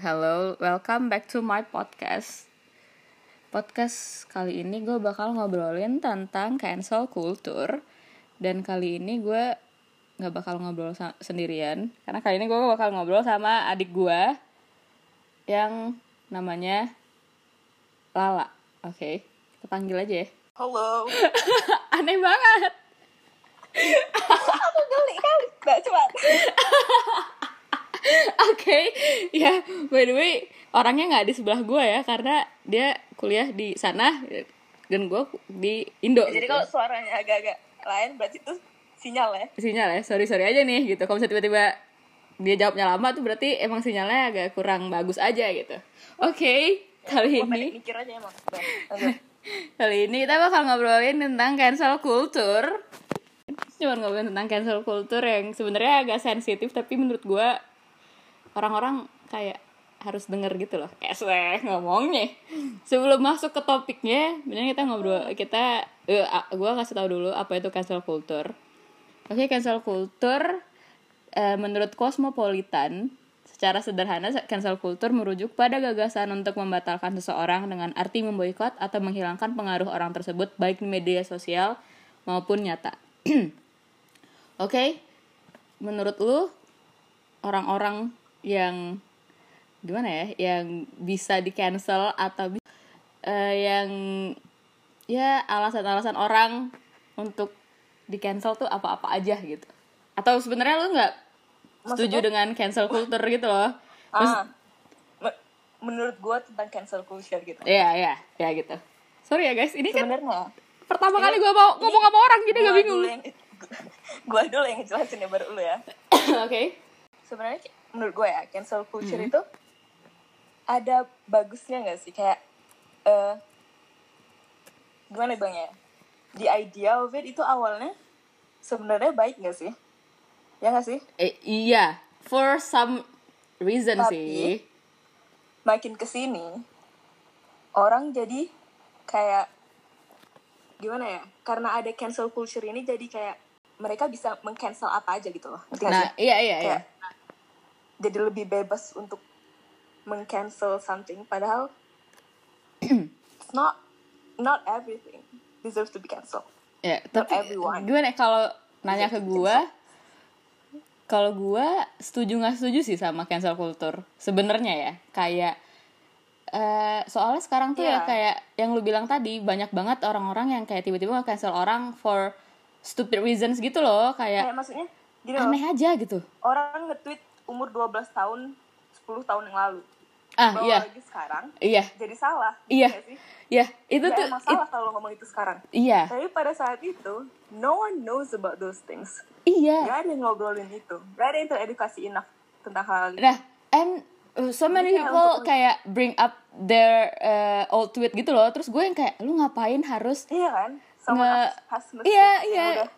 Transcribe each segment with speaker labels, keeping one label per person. Speaker 1: Hello, welcome back to my podcast. Podcast kali ini gue bakal ngobrolin tentang cancel culture dan kali ini gue nggak bakal ngobrol sa- sendirian karena kali ini gue bakal ngobrol sama adik gue yang namanya Lala. Oke, kita panggil aja ya.
Speaker 2: Halo.
Speaker 1: Aneh banget.
Speaker 2: Aku geli kan? Nggak, coba.
Speaker 1: Oke, ya by the way orangnya nggak di sebelah gue ya karena dia kuliah di sana dan gue di Indo.
Speaker 2: Jadi
Speaker 1: gitu.
Speaker 2: kalau suaranya agak-agak lain berarti itu sinyal ya.
Speaker 1: sinyal ya sorry sorry aja nih gitu kalau misalnya tiba-tiba dia jawabnya lama tuh berarti emang sinyalnya agak kurang bagus aja gitu oke kali ini
Speaker 2: Gua pendek mikir aja emang.
Speaker 1: kali ini kita bakal ngobrolin tentang cancel culture cuma ngobrolin tentang cancel culture yang sebenarnya agak sensitif tapi menurut gua orang-orang kayak harus denger gitu loh eseh ngomongnya sebelum masuk ke topiknya benar kita ngobrol kita eh, a- gua kasih tahu dulu apa itu cancel culture Oke, cancel culture eh, menurut Cosmopolitan secara sederhana cancel culture merujuk pada gagasan untuk membatalkan seseorang dengan arti memboikot atau menghilangkan pengaruh orang tersebut baik di media sosial maupun nyata. Oke, menurut lu orang-orang yang gimana ya, yang bisa di cancel atau bi- eh, yang ya alasan-alasan orang untuk di cancel tuh apa-apa aja gitu? Atau sebenarnya lu nggak setuju dengan cancel culture gitu loh?
Speaker 2: Ah. Me- Menurut gue tentang cancel culture gitu.
Speaker 1: Ya, ya, ya gitu. Sorry ya guys, ini kan
Speaker 2: Sebenarnya
Speaker 1: pertama kali gue mau ngomong sama orang jadi
Speaker 2: gua
Speaker 1: gak bingung.
Speaker 2: dulu
Speaker 1: Oke.
Speaker 2: yang gua dulu yang ngejelasin ya baru lu ya. Sebenarnya menurut gue ya cancel culture itu ada bagusnya nggak sih kayak eh gimana bang ya? The idea of it itu awalnya sebenarnya baik nggak sih? Ya nggak sih?
Speaker 1: Eh, iya, for some reason
Speaker 2: Tapi-
Speaker 1: sih.
Speaker 2: makin kesini orang jadi kayak gimana ya karena ada cancel culture ini jadi kayak mereka bisa mengcancel apa aja gitu loh Ngerti nggak
Speaker 1: Nah,
Speaker 2: sih?
Speaker 1: iya iya iya.
Speaker 2: kayak jadi lebih bebas untuk mengcancel something padahal it's not not everything deserves to be cancelled
Speaker 1: Ya,
Speaker 2: not
Speaker 1: tapi
Speaker 2: everyone.
Speaker 1: gimana ya, kalau nanya ke gua kalau gua setuju nggak setuju sih sama cancel culture sebenarnya ya kayak eh soalnya sekarang tuh ya
Speaker 2: Iya.
Speaker 1: kayak yang lu bilang tadi banyak banget orang-orang yang kayak tiba-tiba nge-cancel orang for stupid reasons gitu loh kayak
Speaker 2: kayak maksudnya gini loh
Speaker 1: aneh aja gitu
Speaker 2: orang nge-tweet umur 12 tahun 10 tahun yang lalu
Speaker 1: ah
Speaker 2: bahwa
Speaker 1: iya
Speaker 2: lagi sekarang
Speaker 1: iya
Speaker 2: jadi salah gitu
Speaker 1: Iya.
Speaker 2: nggak sih?
Speaker 1: iya itu
Speaker 2: Nggak
Speaker 1: tuh
Speaker 2: emang
Speaker 1: it-
Speaker 2: salah kalau ngomong itu sekarang
Speaker 1: iya
Speaker 2: Tapi pada saat itu, no one knows about those things.
Speaker 1: iya
Speaker 2: Gak ada yang ngobrolin itu. Gak ada yang teredukasi enough tentang hal ini.
Speaker 1: Nah, and uh, so many
Speaker 2: Jadi kayak
Speaker 1: people
Speaker 2: untuk-
Speaker 1: kayak bring up their uh, old tweet gitu loh. Terus gue yang kayak, lu ngapain harus
Speaker 2: Iya kan? Someone
Speaker 1: Nge-
Speaker 2: else has mistakes
Speaker 1: Iya,
Speaker 2: yang
Speaker 1: iya.
Speaker 2: udah-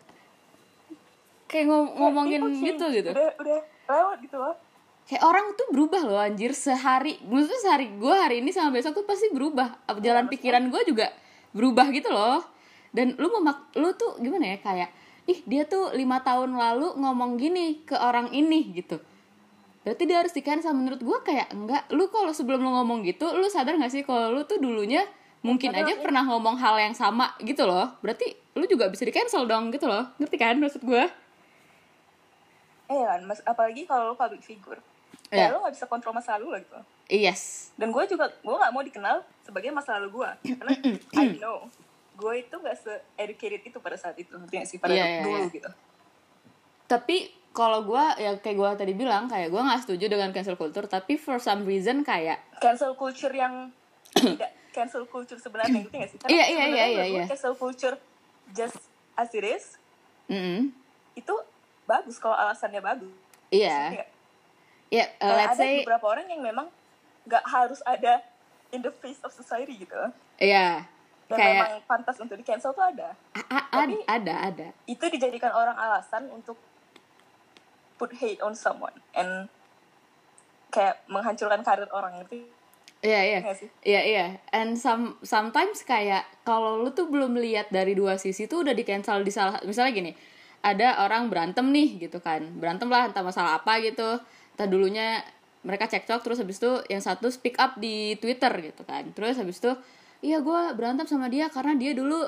Speaker 1: kayak ngom- ngomongin
Speaker 2: people change.
Speaker 1: gitu gitu?
Speaker 2: Iya, Udah, udah lewat gitu loh.
Speaker 1: Kayak orang tuh berubah loh anjir sehari. Maksudnya sehari gue hari ini sama besok tuh pasti berubah. Apa Jalan pikiran gue juga berubah gitu loh. Dan lu memak lu tuh gimana ya kayak ih dia tuh lima tahun lalu ngomong gini ke orang ini gitu. Berarti dia harus di cancel menurut gue kayak enggak. Lu kalau sebelum lu ngomong gitu, lu sadar gak sih kalau lu tuh dulunya mungkin aja pernah ngomong hal yang sama gitu loh. Berarti lu juga bisa di cancel dong gitu loh. Ngerti kan maksud gue?
Speaker 2: Iya kan? Mas, apalagi kalau lo public figure.
Speaker 1: Iya.
Speaker 2: Ya, lo gak bisa kontrol masa lalu lo gitu.
Speaker 1: Yes.
Speaker 2: Dan gue juga, gue gak mau dikenal sebagai masa lalu gue. Karena I know. Gue itu gak se-educated itu pada saat itu. Ngerti gak sih? Pada
Speaker 1: Iya, iya,
Speaker 2: dulu
Speaker 1: iya.
Speaker 2: gitu.
Speaker 1: tapi kalau gue ya kayak gue tadi bilang kayak gue nggak setuju dengan cancel culture tapi for some reason kayak
Speaker 2: cancel culture yang tidak cancel culture sebenarnya gitu nggak sih? Karena
Speaker 1: Iya, iya,
Speaker 2: sebenarnya
Speaker 1: iya,
Speaker 2: menurut
Speaker 1: iya,
Speaker 2: gue
Speaker 1: iya.
Speaker 2: Cancel culture just as it is
Speaker 1: mm
Speaker 2: itu bagus kalau alasannya bagus.
Speaker 1: iya
Speaker 2: Iya.
Speaker 1: ya uh,
Speaker 2: Kayak
Speaker 1: let's
Speaker 2: ada
Speaker 1: say
Speaker 2: beberapa orang yang memang nggak harus ada in the face of society gitu.
Speaker 1: ya
Speaker 2: Dan
Speaker 1: kayak
Speaker 2: memang pantas untuk di cancel tuh ada.
Speaker 1: a- a- ad- ada ada
Speaker 2: Itu dijadikan orang alasan untuk put hate on someone and kayak menghancurkan karir orang ngerti
Speaker 1: Iya iya.
Speaker 2: Nggak sih?
Speaker 1: Iya iya. And some sometimes kayak kalau lu tuh belum lihat dari dua sisi tuh udah di cancel di salah misalnya gini. Ada orang berantem nih gitu kan. Berantem lah entah masalah apa gitu. Entah dulunya mereka cekcok terus habis itu yang satu speak up di Twitter gitu kan terus habis itu iya gue berantem sama dia karena dia dulu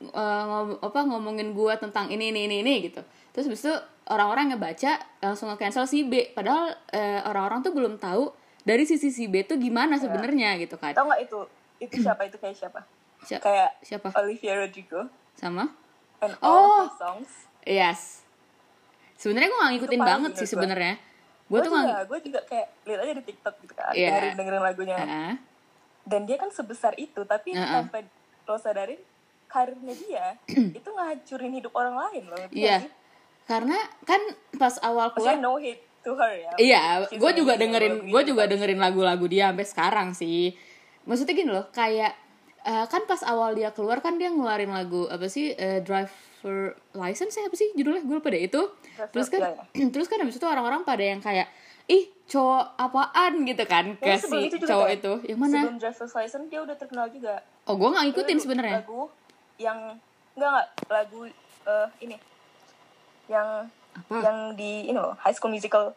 Speaker 1: eh, ngom- apa ngomongin gue tentang ini ini ini ini gitu terus habis itu orang-orang yang baca langsung nge-cancel si B padahal eh, orang-orang tuh belum tahu dari sisi si B tuh gimana sebenarnya gitu kan
Speaker 2: Tau nggak itu? Itu siapa itu kayak siapa?
Speaker 1: Si-
Speaker 2: Kayak
Speaker 1: Ya. siapa Oh!
Speaker 2: Olivia Rodrigo
Speaker 1: sama
Speaker 2: on all of her songs.
Speaker 1: yes sebenarnya gue gak ngikutin
Speaker 2: Itu parah
Speaker 1: banget
Speaker 2: sih
Speaker 1: sih
Speaker 2: menurut gua.
Speaker 1: sebenarnya gue
Speaker 2: Gue
Speaker 1: tuh nggak
Speaker 2: juga, gue juga kayak lihat aja di TikTok gitu kan,
Speaker 1: Iya.
Speaker 2: dari dengerin lagunya.
Speaker 1: Ah.
Speaker 2: Dan dia kan sebesar itu, tapi
Speaker 1: Heeh.
Speaker 2: tanpa lo sadarin karirnya dia itu ngancurin hidup orang lain loh. ngerti
Speaker 1: Iya.
Speaker 2: gak sih?
Speaker 1: Karena kan pas awal
Speaker 2: Maksudnya
Speaker 1: keluar
Speaker 2: no hate to her ya.
Speaker 1: Iya,
Speaker 2: She's
Speaker 1: gue juga
Speaker 2: amazing,
Speaker 1: dengerin,
Speaker 2: I
Speaker 1: gue
Speaker 2: love you.
Speaker 1: juga dengerin lagu-lagu dia sampai sekarang sih. Maksudnya gini loh, kayak eh, kan pas awal dia keluar kan dia ngeluarin lagu apa sih eh, driver license ya apa sih judulnya gue pada itu.
Speaker 2: Driver,
Speaker 1: terus kan,
Speaker 2: iya,
Speaker 1: terus kan habis itu orang-orang pada yang kayak ih cowok apaan gitu kan ke
Speaker 2: Yang sebelum
Speaker 1: si
Speaker 2: itu juga
Speaker 1: cowok
Speaker 2: kayak-
Speaker 1: itu. Yang mana?
Speaker 2: Sebelum Driver's License dia udah terkenal juga.
Speaker 1: oh gue nggak ngikutin
Speaker 2: Dulu
Speaker 1: sebenarnya.
Speaker 2: Lagu yang enggak enggak lagu eh, ini yang
Speaker 1: Apa?
Speaker 2: yang di ini loh High School Musical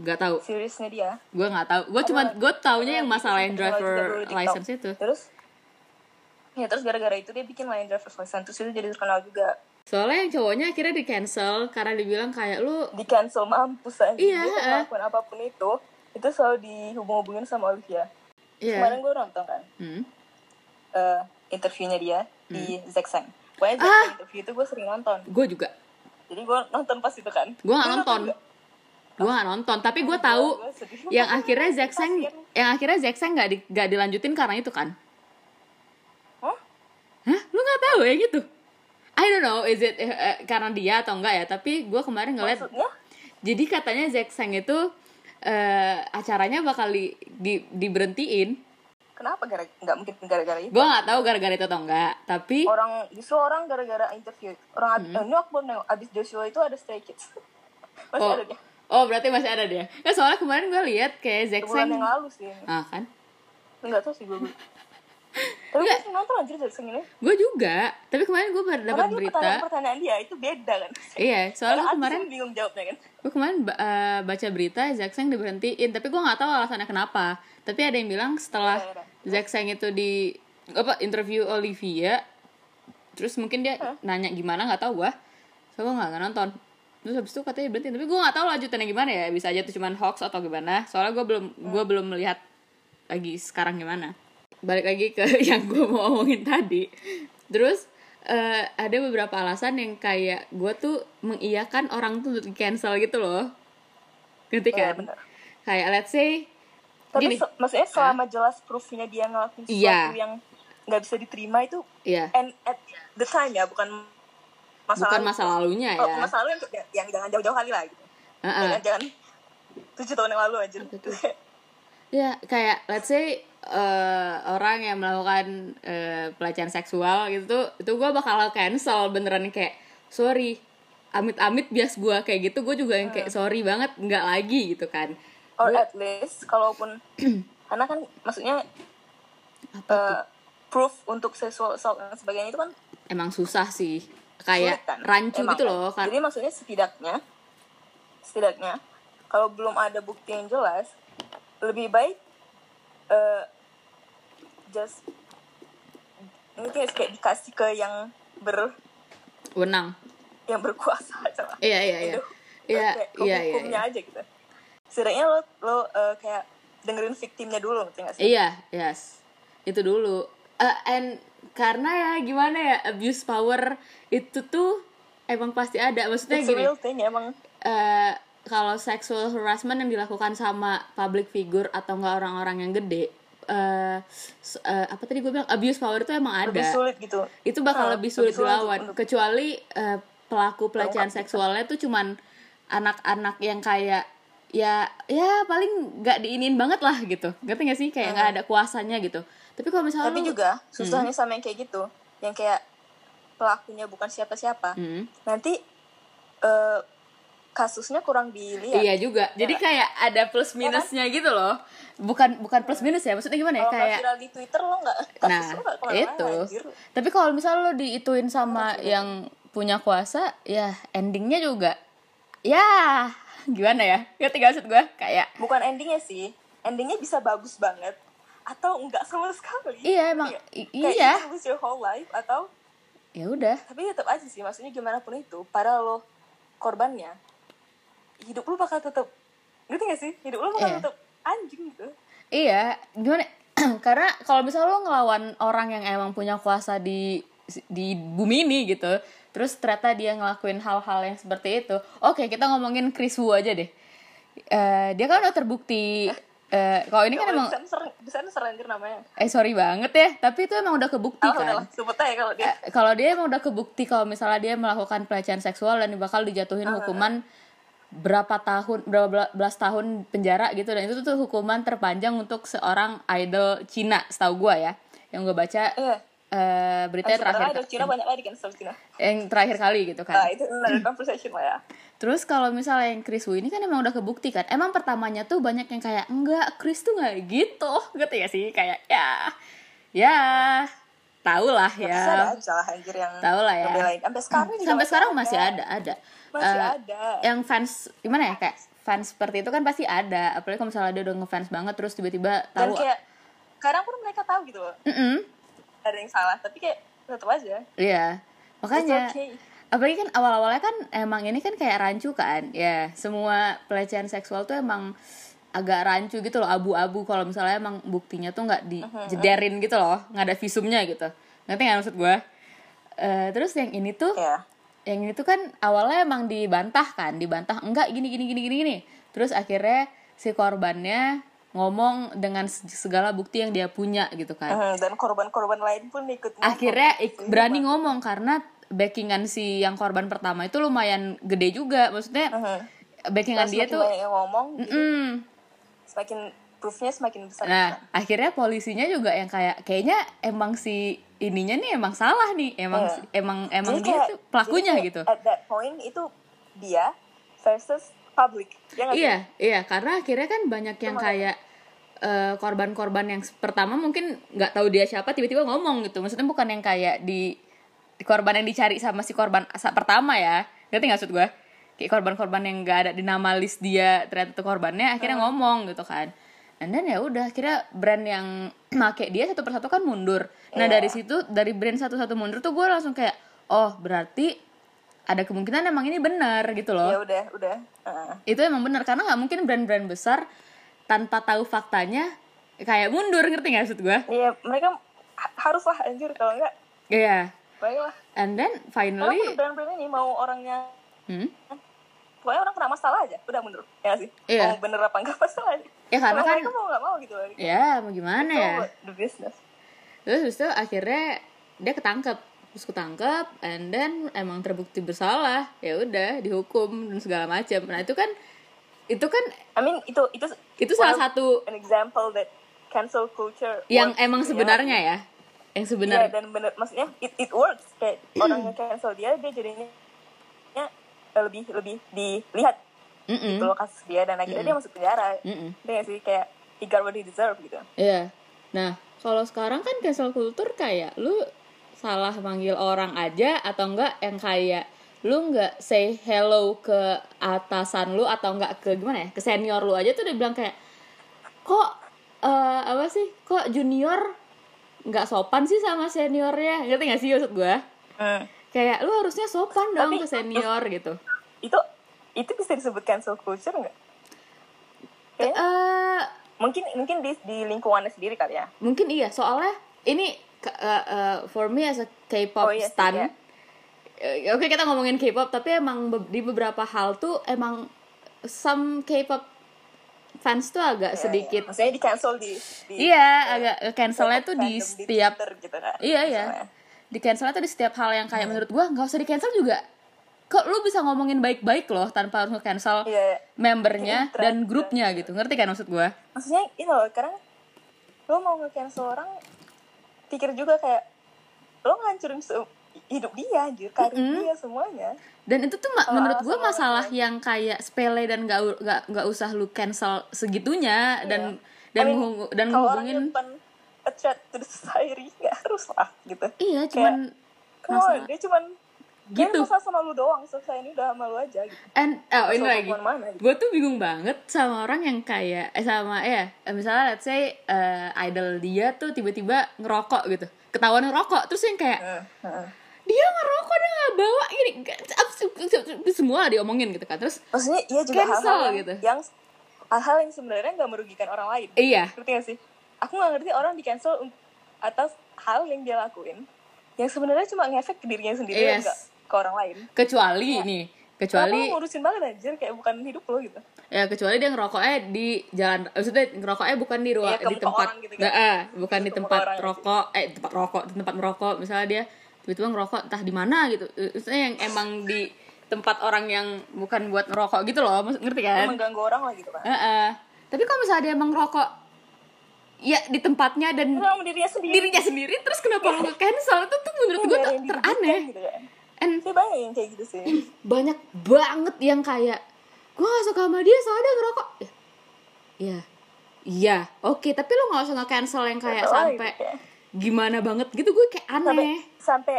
Speaker 1: Gak tahu,
Speaker 2: seriesnya dia.
Speaker 1: gue nggak tahu. Gue cuma gue taunya yang masalah yang
Speaker 2: Terkenal juga dulu
Speaker 1: driver
Speaker 2: di TikTok.
Speaker 1: license itu.
Speaker 2: Terus ya terus gara-gara itu dia bikin lain Driver's License terus itu jadi terkenal juga.
Speaker 1: Soalnya yang cowoknya akhirnya di cancel karena dibilang kayak lu
Speaker 2: Di cancel mampus aja.
Speaker 1: Iya,
Speaker 2: Dia
Speaker 1: eh.
Speaker 2: melakukan apapun itu itu selalu dihubung-hubungin sama Olivia.
Speaker 1: Iya.
Speaker 2: Kemarin gue nonton kan.
Speaker 1: Hmm.
Speaker 2: eh, interviewnya dia di Zack Sang. Pokoknya
Speaker 1: Ah!
Speaker 2: Zack Sang interview itu gue sering nonton.
Speaker 1: Gue juga.
Speaker 2: Jadi gue nonton pas itu kan.
Speaker 1: Gue
Speaker 2: Lu
Speaker 1: nggak nonton.
Speaker 2: nggak?
Speaker 1: Gue nggak nonton, tapi gue tahu
Speaker 2: Gua sedih.
Speaker 1: yang akhirnya Zack Sang
Speaker 2: Kasian.
Speaker 1: yang akhirnya Zack Sang nggak di, nggak dilanjutin karena itu kan.
Speaker 2: Hah?
Speaker 1: Hah? Lu nggak tahu ya gitu? I don't know, is it eh, eh, karena dia atau enggak ya? Tapi gue kemarin ngeliat,
Speaker 2: Maksudnya?
Speaker 1: jadi katanya Zack Sang itu eh, acaranya bakal di, di, diberhentiin.
Speaker 2: Kenapa gara nggak mungkin gara-gara itu?
Speaker 1: Gue nggak tahu gara-gara itu atau enggak. Tapi
Speaker 2: Orang justru orang gara-gara interview. Orang ab- eh,
Speaker 1: Mm-hmm.
Speaker 2: ini aku baru nengok, abis Joshua itu ada Stray Kids. Masih
Speaker 1: oh,
Speaker 2: ada dia.
Speaker 1: oh berarti masih ada dia. Ya, soalnya kemarin gue lihat kayak Zack
Speaker 2: Bulan yang
Speaker 1: Sang,
Speaker 2: lalu sih.
Speaker 1: ah kan?
Speaker 2: Enggak tahu sih gue. Tapi gue sering nonton anjir Zack Sang ini.
Speaker 1: Gue juga, tapi kemarin gue baru dapat
Speaker 2: Karena dia
Speaker 1: berita.
Speaker 2: pertanyaan-pertanyaan dia itu beda kan.
Speaker 1: Iya,
Speaker 2: Karena
Speaker 1: soalnya gue
Speaker 2: aku
Speaker 1: kemarin
Speaker 2: sering bingung jawabnya kan.
Speaker 1: gue kemarin ba- eh, baca berita Zack Sang diberhentiin, tapi gue nggak tahu alasannya kenapa. Tapi ada yang bilang setelah
Speaker 2: Iya,
Speaker 1: Zack Sang itu di apa interview Olivia, terus mungkin dia nanya gimana nggak tahu gue, so gue nggak nggak nonton. Terus habis itu katanya berhentiin, tapi gue nggak tahu lanjutannya gimana ya. Bisa aja itu cuman hoax atau gimana. Soalnya gue belum
Speaker 2: Hmm.
Speaker 1: gue belum melihat lagi sekarang gimana. Balik lagi ke yang gue mau omongin tadi. Terus eh, ada beberapa alasan yang kayak gue tuh mengiyakan orang tuh untuk cancel gitu loh. Ngerti
Speaker 2: Iya,
Speaker 1: kan?
Speaker 2: bener.
Speaker 1: kayak let's say
Speaker 2: Tapi
Speaker 1: gini.
Speaker 2: se- maksudnya selama jelas proofnya dia ngelakuin sesuatu
Speaker 1: Iya.
Speaker 2: yang nggak bisa diterima itu
Speaker 1: Iya.
Speaker 2: and at the time ya bukan masalah Oh,
Speaker 1: Bukan masa lalunya ya. Ah.
Speaker 2: masa lalu yang, yang jangan jauh-jauh kali lah gitu.
Speaker 1: Heeh.
Speaker 2: Jangan, jangan tujuh tahun yang lalu aja.
Speaker 1: Ya, kayak let's say eh, orang yang melakukan eh, pelecehan seksual gitu tuh, itu gue bakal cancel beneran kayak sorry amit-amit bias gue kayak gitu gue juga yang kayak
Speaker 2: Hmm.
Speaker 1: sorry banget nggak lagi gitu kan
Speaker 2: Or at least kalaupun karena kan maksudnya eh, proof untuk sexual assault dan sebagainya itu kan
Speaker 1: emang susah sih kayak
Speaker 2: sulit kan,
Speaker 1: rancu
Speaker 2: emang
Speaker 1: gitu
Speaker 2: kan.
Speaker 1: loh kan
Speaker 2: Jadi maksudnya setidaknya setidaknya kalau belum ada bukti yang jelas lebih baik eh just mungkin kayak dikasih ke yang ber
Speaker 1: wenang
Speaker 2: yang berkuasa aja lah.
Speaker 1: iya iya iya
Speaker 2: Aduh.
Speaker 1: iya
Speaker 2: Kayak ke
Speaker 1: iya iya
Speaker 2: hukumnya aja gitu. Setidaknya lo lo eh, kayak dengerin victimnya dulu ngerti gak sih?
Speaker 1: Iya, yes. Itu dulu. Eh, and karena ya gimana ya abuse power itu tuh emang pasti ada. Maksudnya
Speaker 2: It's a
Speaker 1: Nah, gini,
Speaker 2: real thing emang
Speaker 1: eh, kalau sexual harassment yang dilakukan sama public figure atau enggak orang-orang yang gede eh s- eh, apa tadi gue bilang abuse power itu emang ada
Speaker 2: lebih sulit gitu.
Speaker 1: itu bakal
Speaker 2: Nah,
Speaker 1: lebih sulit
Speaker 2: lebih sulit
Speaker 1: dilawan kecuali eh, pelaku pelecehan seksualnya tuh cuman anak-anak yang kayak ya ya paling nggak diinin banget lah gitu ngerti nggak sih kayak nggak ada kuasanya gitu tapi kalau misalnya
Speaker 2: Tapi
Speaker 1: lu-
Speaker 2: juga
Speaker 1: Hmm.
Speaker 2: susahnya sama yang kayak gitu, yang kayak pelakunya bukan siapa-siapa.
Speaker 1: Hmm.
Speaker 2: nanti eh, kasusnya kurang dilihat.
Speaker 1: iya juga jadi kayak ada plus
Speaker 2: Ya kan?
Speaker 1: minusnya gitu loh bukan bukan plus minus ya maksudnya gimana ya
Speaker 2: Kalau nggak
Speaker 1: kayak
Speaker 2: viral di Twitter lo nggak
Speaker 1: nah
Speaker 2: kasus lo nggak kemana-mana,
Speaker 1: itu
Speaker 2: anjir.
Speaker 1: tapi kalau misalnya lo diituin sama yang punya kuasa ya endingnya juga ya gimana ya ngerti gak maksud gue kayak
Speaker 2: bukan endingnya sih endingnya bisa bagus banget atau enggak sama sekali
Speaker 1: Iya, emang-
Speaker 2: Kayak-
Speaker 1: i-
Speaker 2: kayak
Speaker 1: iya.
Speaker 2: you can lose your whole life atau
Speaker 1: ya udah
Speaker 2: tapi tetap aja sih maksudnya gimana pun itu para lo korbannya hidup lo bakal tetap ngerti gak sih hidup lo bakal
Speaker 1: Iya.
Speaker 2: tetap anjing gitu
Speaker 1: Iya, gimana? Karena kalau misalnya lo ngelawan orang yang emang punya kuasa di di bumi ini gitu, terus ternyata dia ngelakuin hal-hal yang seperti itu. Oke, kita ngomongin Chris Wu aja deh. Eh, dia kan udah terbukti. eh, kalau ini kan emang,
Speaker 2: bisa sering bisa sering namanya
Speaker 1: eh sorry banget ya, tapi itu emang udah kebukti
Speaker 2: ah
Speaker 1: kan.
Speaker 2: udahlah sebut aja kalau dia
Speaker 1: Eh, kalau dia emang udah kebukti kalau misalnya dia melakukan pelecehan seksual dan bakal dijatuhin hukuman berapa tahun berapa bela- belas tahun penjara gitu dan itu tuh hukuman terpanjang untuk seorang idol Cina setahu gua ya yang gue baca
Speaker 2: Iya.
Speaker 1: eh, berita
Speaker 2: Sebenarnya
Speaker 1: terakhir
Speaker 2: ada Cina banyak lagi cancel Cina
Speaker 1: yang terakhir kali gitu kan
Speaker 2: nah itu another conversation lah ya
Speaker 1: Terus kalau misalnya yang Chris Wu ini kan emang udah kebukti kan. Emang pertamanya tuh banyak yang kayak enggak Chris tuh nggak gitu. Gitu ya sih kayak ya ya tau lah
Speaker 2: Terus
Speaker 1: ya.
Speaker 2: ada aja lah anjir yang
Speaker 1: Tau lah ya.
Speaker 2: ngebelain. sampai sekarang juga
Speaker 1: Sampai sekarang masih ada ada.
Speaker 2: Masih
Speaker 1: Eh,
Speaker 2: ada.
Speaker 1: Yang fans gimana ya kayak fans seperti itu kan pasti ada. Apalagi kalau misalnya dia udah ngefans banget terus tiba-tiba tahu.
Speaker 2: dan kayak kadang pun mereka tahu gitu loh
Speaker 1: Mm-mm.
Speaker 2: ada yang salah tapi kayak tetap aja
Speaker 1: Iya. Makanya
Speaker 2: It's okay.
Speaker 1: apalagi kan awal-awalnya kan emang ini kan kayak rancu kan. Ya, semua pelecehan seksual tuh emang agak rancu gitu loh, abu-abu kalau misalnya emang buktinya tuh nggak
Speaker 2: Mm-hmm,
Speaker 1: dijederin gitu loh, nggak ada visumnya gitu. Ngerti nggak maksud gue? Eh, terus yang ini tuh
Speaker 2: ya
Speaker 1: yang ini tuh kan awalnya emang dibantah kan dibantah enggak gini gini gini gini gini terus akhirnya si korbannya ngomong dengan se- segala bukti yang dia punya gitu kan
Speaker 2: Mhm, dan korban-korban lain pun ikut
Speaker 1: akhirnya
Speaker 2: oh, iya,
Speaker 1: ik- berani ngomong karena backingan si yang korban pertama itu lumayan gede juga maksudnya
Speaker 2: Mhm.
Speaker 1: backingan
Speaker 2: Terus
Speaker 1: dia
Speaker 2: semakin
Speaker 1: tuh
Speaker 2: banyak yang ngomong gitu.
Speaker 1: mm,
Speaker 2: semakin proofnya semakin besar
Speaker 1: nah akhirnya polisinya juga yang kayak kayaknya emang si ininya nih emang salah nih emang
Speaker 2: Iya.
Speaker 1: si- emang emang
Speaker 2: Jadi
Speaker 1: dia
Speaker 2: kayak-
Speaker 1: tuh pelakunya
Speaker 2: jadi kayak
Speaker 1: gitu
Speaker 2: at that point itu dia versus public ya nggak sih?
Speaker 1: Iya, iya, karena akhirnya kan banyak yang
Speaker 2: makanya.
Speaker 1: kayak eh, korban-korban yang s- pertama mungkin nggak tahu dia siapa tiba-tiba ngomong gitu. Maksudnya bukan yang kayak di, di korban yang dicari sama si korban asa- pertama ya. Ngerti nggak maksud gue? Kayak korban-korban yang nggak ada di nama list dia ternyata tuh korbannya akhirnya ngomong gitu kan. Dan dan ya udah akhirnya brand yang make dia satu persatu kan mundur. Nah dari situ dari brand satu-satu mundur tuh gue langsung kayak oh berarti ada kemungkinan emang ini benar gitu loh
Speaker 2: ya udah udah Heeh.
Speaker 1: itu emang bener karena nggak mungkin brand-brand besar tanpa tahu faktanya kayak mundur ngerti nggak maksud gue
Speaker 2: Iya, mereka ha- haruslah anjir kalau enggak
Speaker 1: iya
Speaker 2: baiklah
Speaker 1: and then finally
Speaker 2: Walaupun brand-brand ini mau orangnya
Speaker 1: hmm?
Speaker 2: pokoknya orang kena masalah aja udah mundur ya nggak sih
Speaker 1: Iya.
Speaker 2: mau bener apa enggak masalah aja
Speaker 1: Ya, karena
Speaker 2: Kalau
Speaker 1: kan-
Speaker 2: mereka mau nggak mau gitu loh
Speaker 1: ya mau gimana ya
Speaker 2: Itu the business
Speaker 1: terus habis itu akhirnya dia ketangkep terus ketangkep and then emang terbukti bersalah ya udah dihukum dan segala macam nah itu kan itu kan
Speaker 2: I mean itu itu
Speaker 1: itu
Speaker 2: one
Speaker 1: salah
Speaker 2: of
Speaker 1: satu
Speaker 2: an example that cancel culture
Speaker 1: yang
Speaker 2: works,
Speaker 1: emang
Speaker 2: you know?
Speaker 1: sebenarnya ya yang
Speaker 2: Iya
Speaker 1: sebenarnya
Speaker 2: dan bener maksudnya it it works kayak
Speaker 1: Hmm.
Speaker 2: orang yang cancel dia dia jadinya ya, lebih lebih dilihat
Speaker 1: Mm-mm.
Speaker 2: gitu loh kasus dia dan akhirnya
Speaker 1: Hmm.
Speaker 2: dia masuk penjara.
Speaker 1: Mm-mm.
Speaker 2: Dia nggak sih kayak he got what he deserved gitu.
Speaker 1: Iya. Nah, kalau sekarang kan cancel culture kayak lu salah manggil orang aja atau enggak yang kayak lu nggak say hello ke atasan lu atau enggak ke gimana ya ke senior lu aja tuh dia bilang kayak kok eh, apa sih kok junior nggak sopan sih sama seniornya ngerti nggak sih maksud gue kayak lu harusnya sopan dong ke
Speaker 2: Tapi-
Speaker 1: senior gitu
Speaker 2: Itu itu bisa disebut cancel culture nggak?
Speaker 1: eh
Speaker 2: Kayaknya mungkin mungkin di di lingkungannya sendiri kali ya.
Speaker 1: mungkin iya soalnya ini ke- eh, eh, for me as a K-pop
Speaker 2: Oh, iya sih,
Speaker 1: stan
Speaker 2: iya.
Speaker 1: eh, oke kita ngomongin K-pop tapi emang be- di beberapa hal tuh emang some K-pop fans tuh agak sedikit
Speaker 2: Iya. Maksudnya di cancel di, di
Speaker 1: iya agak cancelnya tuh di
Speaker 2: fandom
Speaker 1: setiap
Speaker 2: Twitter gitu Iya. kan.
Speaker 1: iya iya
Speaker 2: Misalnya.
Speaker 1: di cancelnya tuh di setiap hal yang kayak menurut gua nggak usah di cancel juga kok lu bisa ngomongin baik-baik loh tanpa harus cancel
Speaker 2: Iya, iya.
Speaker 1: membernya
Speaker 2: Iya,
Speaker 1: dan
Speaker 2: terus-
Speaker 1: grupnya gitu ngerti kan maksud gua
Speaker 2: Maksudnya itu loh, karena lo mau nge-cancel orang pikir juga kayak lo ngancurin se- hidup dia anjir, karir dia semuanya.
Speaker 1: dan itu tuh ma- menurut gue
Speaker 2: alasan orang
Speaker 1: masalah yang kayak sepele dan gak u- gak, gak usah lu cancel segitunya dan dan
Speaker 2: Iya. I mean,
Speaker 1: menghung- dan
Speaker 2: kalau orang
Speaker 1: menghubungin
Speaker 2: depan a threat to the society nggak harus lah gitu.
Speaker 1: iya
Speaker 2: kayak,
Speaker 1: cuman
Speaker 2: Come on,
Speaker 1: masalah
Speaker 2: dia cuman
Speaker 1: gitu
Speaker 2: Kayaknya sama lu doang, selesai ini udah malu aja gitu.
Speaker 1: And oh ini
Speaker 2: Masuk
Speaker 1: lagi.
Speaker 2: kemana-mana gitu.
Speaker 1: Gue tuh bingung banget sama orang yang kayak eh sama ya eh, misalnya let's say eh, idol dia tuh tiba-tiba ngerokok gitu, ketahuan ngerokok terus yang kayak
Speaker 2: Heeh, Eh, heeh.
Speaker 1: dia ngerokok dia nggak bawa gini gak- ap- sup- sup- sup- semua diomongin gitu kan terus
Speaker 2: Maksudnya iya juga
Speaker 1: Cancel
Speaker 2: hal-hal yang,
Speaker 1: gitu.
Speaker 2: yang hal-hal yang sebenarnya nggak merugikan orang lain.
Speaker 1: iya
Speaker 2: Ngerti gak sih? Aku nggak ngerti orang di cancel un- atas hal yang dia lakuin yang sebenarnya cuma ngefek ke dirinya sendiri dan
Speaker 1: Yes.
Speaker 2: nggak ke orang lain.
Speaker 1: kecuali nih kecuali
Speaker 2: Kenapa lu ngurusin banget anjir kayak bukan hidup lo gitu.
Speaker 1: ya kecuali dia ngerokoknya di jalan maksudnya ngerokoknya bukan di ruang
Speaker 2: Iya, ke
Speaker 1: di
Speaker 2: muka
Speaker 1: tempat
Speaker 2: orang gitu kan.
Speaker 1: Nggak, ah, bukan di
Speaker 2: Ke muka
Speaker 1: tempat
Speaker 2: orang gitu.
Speaker 1: rokok eh tempat rokok di tempat merokok misalnya dia tiba-tiba ngerokok entah di mana gitu Eh, maksudnya yang emang di tempat orang yang bukan buat ngerokok gitu loh maksud ngerti kan
Speaker 2: Mengganggu orang lah gitu kan.
Speaker 1: Ah, ah. tapi kalau misalnya dia emang ngerokok ya di tempatnya dan
Speaker 2: Orang sama dirinya sendiri.
Speaker 1: dirinya sendiri terus kenapa lu cancel itu tuh menurut gue tuh
Speaker 2: Nggak ada Iya, yang dirugikan
Speaker 1: teraneh
Speaker 2: Gitu kan.
Speaker 1: and
Speaker 2: Tapi banyak yang kayak gitu sih.
Speaker 1: banyak banget yang kayak gue gak suka sama dia soalnya dia ngerokok Ya, iya iya oke tapi lo gak usah nge-cancel yang kayak
Speaker 2: Nggak tahu
Speaker 1: sampai
Speaker 2: gitu ya.
Speaker 1: gimana banget gitu gue kayak
Speaker 2: Sampai
Speaker 1: aneh
Speaker 2: sampai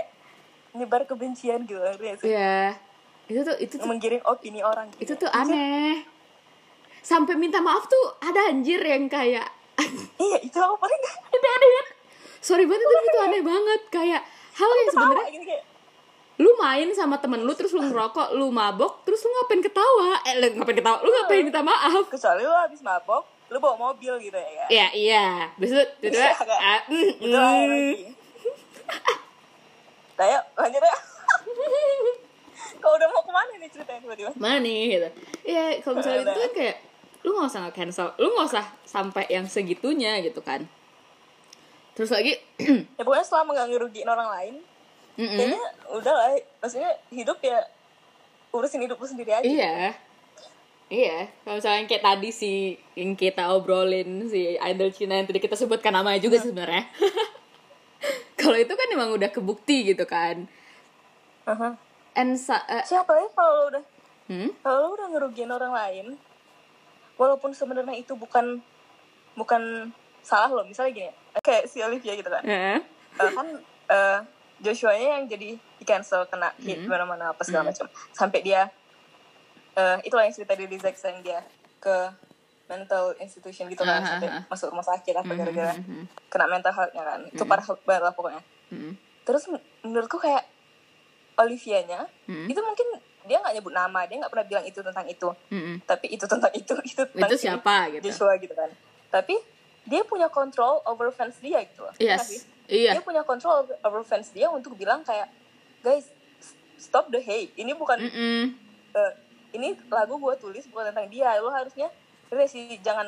Speaker 2: nyebar kebencian gitu ngerti nggak sih.
Speaker 1: ya itu tuh itu tuh
Speaker 2: Menggiring opini orang gitu.
Speaker 1: itu tuh aneh sampai minta maaf tuh ada anjir yang kayak
Speaker 2: Iya, itu aku paling nggak-
Speaker 1: itu aneh banget. sorry banget itu, itu aneh banget kayak hal yang
Speaker 2: ketawa
Speaker 1: sebenarnya
Speaker 2: gitu kayak
Speaker 1: lu main sama temen lu terus lu ngerokok lu mabok terus lu ngapain ketawa eh lu ngapain ketawa lu ngapain minta maaf
Speaker 2: kecuali lo habis mabok lo bawa mobil gitu ya kan
Speaker 1: Ya iya, besok ah, mm, itu
Speaker 2: Iya, Kak. itu lah lagi nah yuk lanjut ya kau udah mau kemana nih ceritanya tiba-tiba
Speaker 1: mana nih mm. gitu. Iya, kalau misalnya
Speaker 2: Udah.
Speaker 1: itu kan kayak lu nggak usah cancel, lu nggak usah sampai yang segitunya gitu kan. Terus lagi,
Speaker 2: ya pokoknya selama nggak ngerugiin orang lain
Speaker 1: mm-mm.
Speaker 2: kayaknya udah lah maksudnya hidup ya urusin hidup lu sendiri aja
Speaker 1: iya, iya. Kalau misalnya kayak tadi si yang kita obrolin si idol Cina yang tadi kita sebutkan namanya
Speaker 2: Iya.
Speaker 1: juga sih sebenarnya. kalau itu kan emang udah kebukti gitu kan.
Speaker 2: Aha.
Speaker 1: And sa- eh,
Speaker 2: siapa ya kalau lo udah
Speaker 1: hmm?
Speaker 2: kalau lo udah ngerugiin orang lain walaupun sebenarnya itu bukan bukan salah lo misalnya gini kayak si Olivia gitu kan
Speaker 1: Eh,
Speaker 2: Eh, kan eh, Joshua-nya yang jadi di cancel kena hit
Speaker 1: Mhm.
Speaker 2: mana-mana apa segala macam sampai dia eh itulah yang cerita dari Jackson dia ke mental institution gitu kan
Speaker 1: Aha,
Speaker 2: sampai
Speaker 1: aha.
Speaker 2: masuk rumah sakit apa
Speaker 1: Mhm,
Speaker 2: gara-gara
Speaker 1: mhm,
Speaker 2: kena mental health-nya kan itu
Speaker 1: Mm-hmm.
Speaker 2: parah banget lah pokoknya
Speaker 1: mhm,
Speaker 2: terus men- menurutku kayak Olivia-nya
Speaker 1: mhm,
Speaker 2: itu mungkin dia nggak nyebut nama dia nggak pernah bilang itu tentang itu
Speaker 1: mhm.
Speaker 2: tapi itu tentang itu itu tentang
Speaker 1: Itu
Speaker 2: si
Speaker 1: siapa gitu?
Speaker 2: Joshua gitu kan tapi dia punya control over fans dia gitu loh Iya nggak sih?
Speaker 1: Yes. Iya.
Speaker 2: dia punya kontrol over fans dia untuk bilang kayak guys stop the hate ini bukan
Speaker 1: Mm-mm.
Speaker 2: eh, ini lagu gue tulis bukan tentang dia lo harusnya ngerti gak sih jangan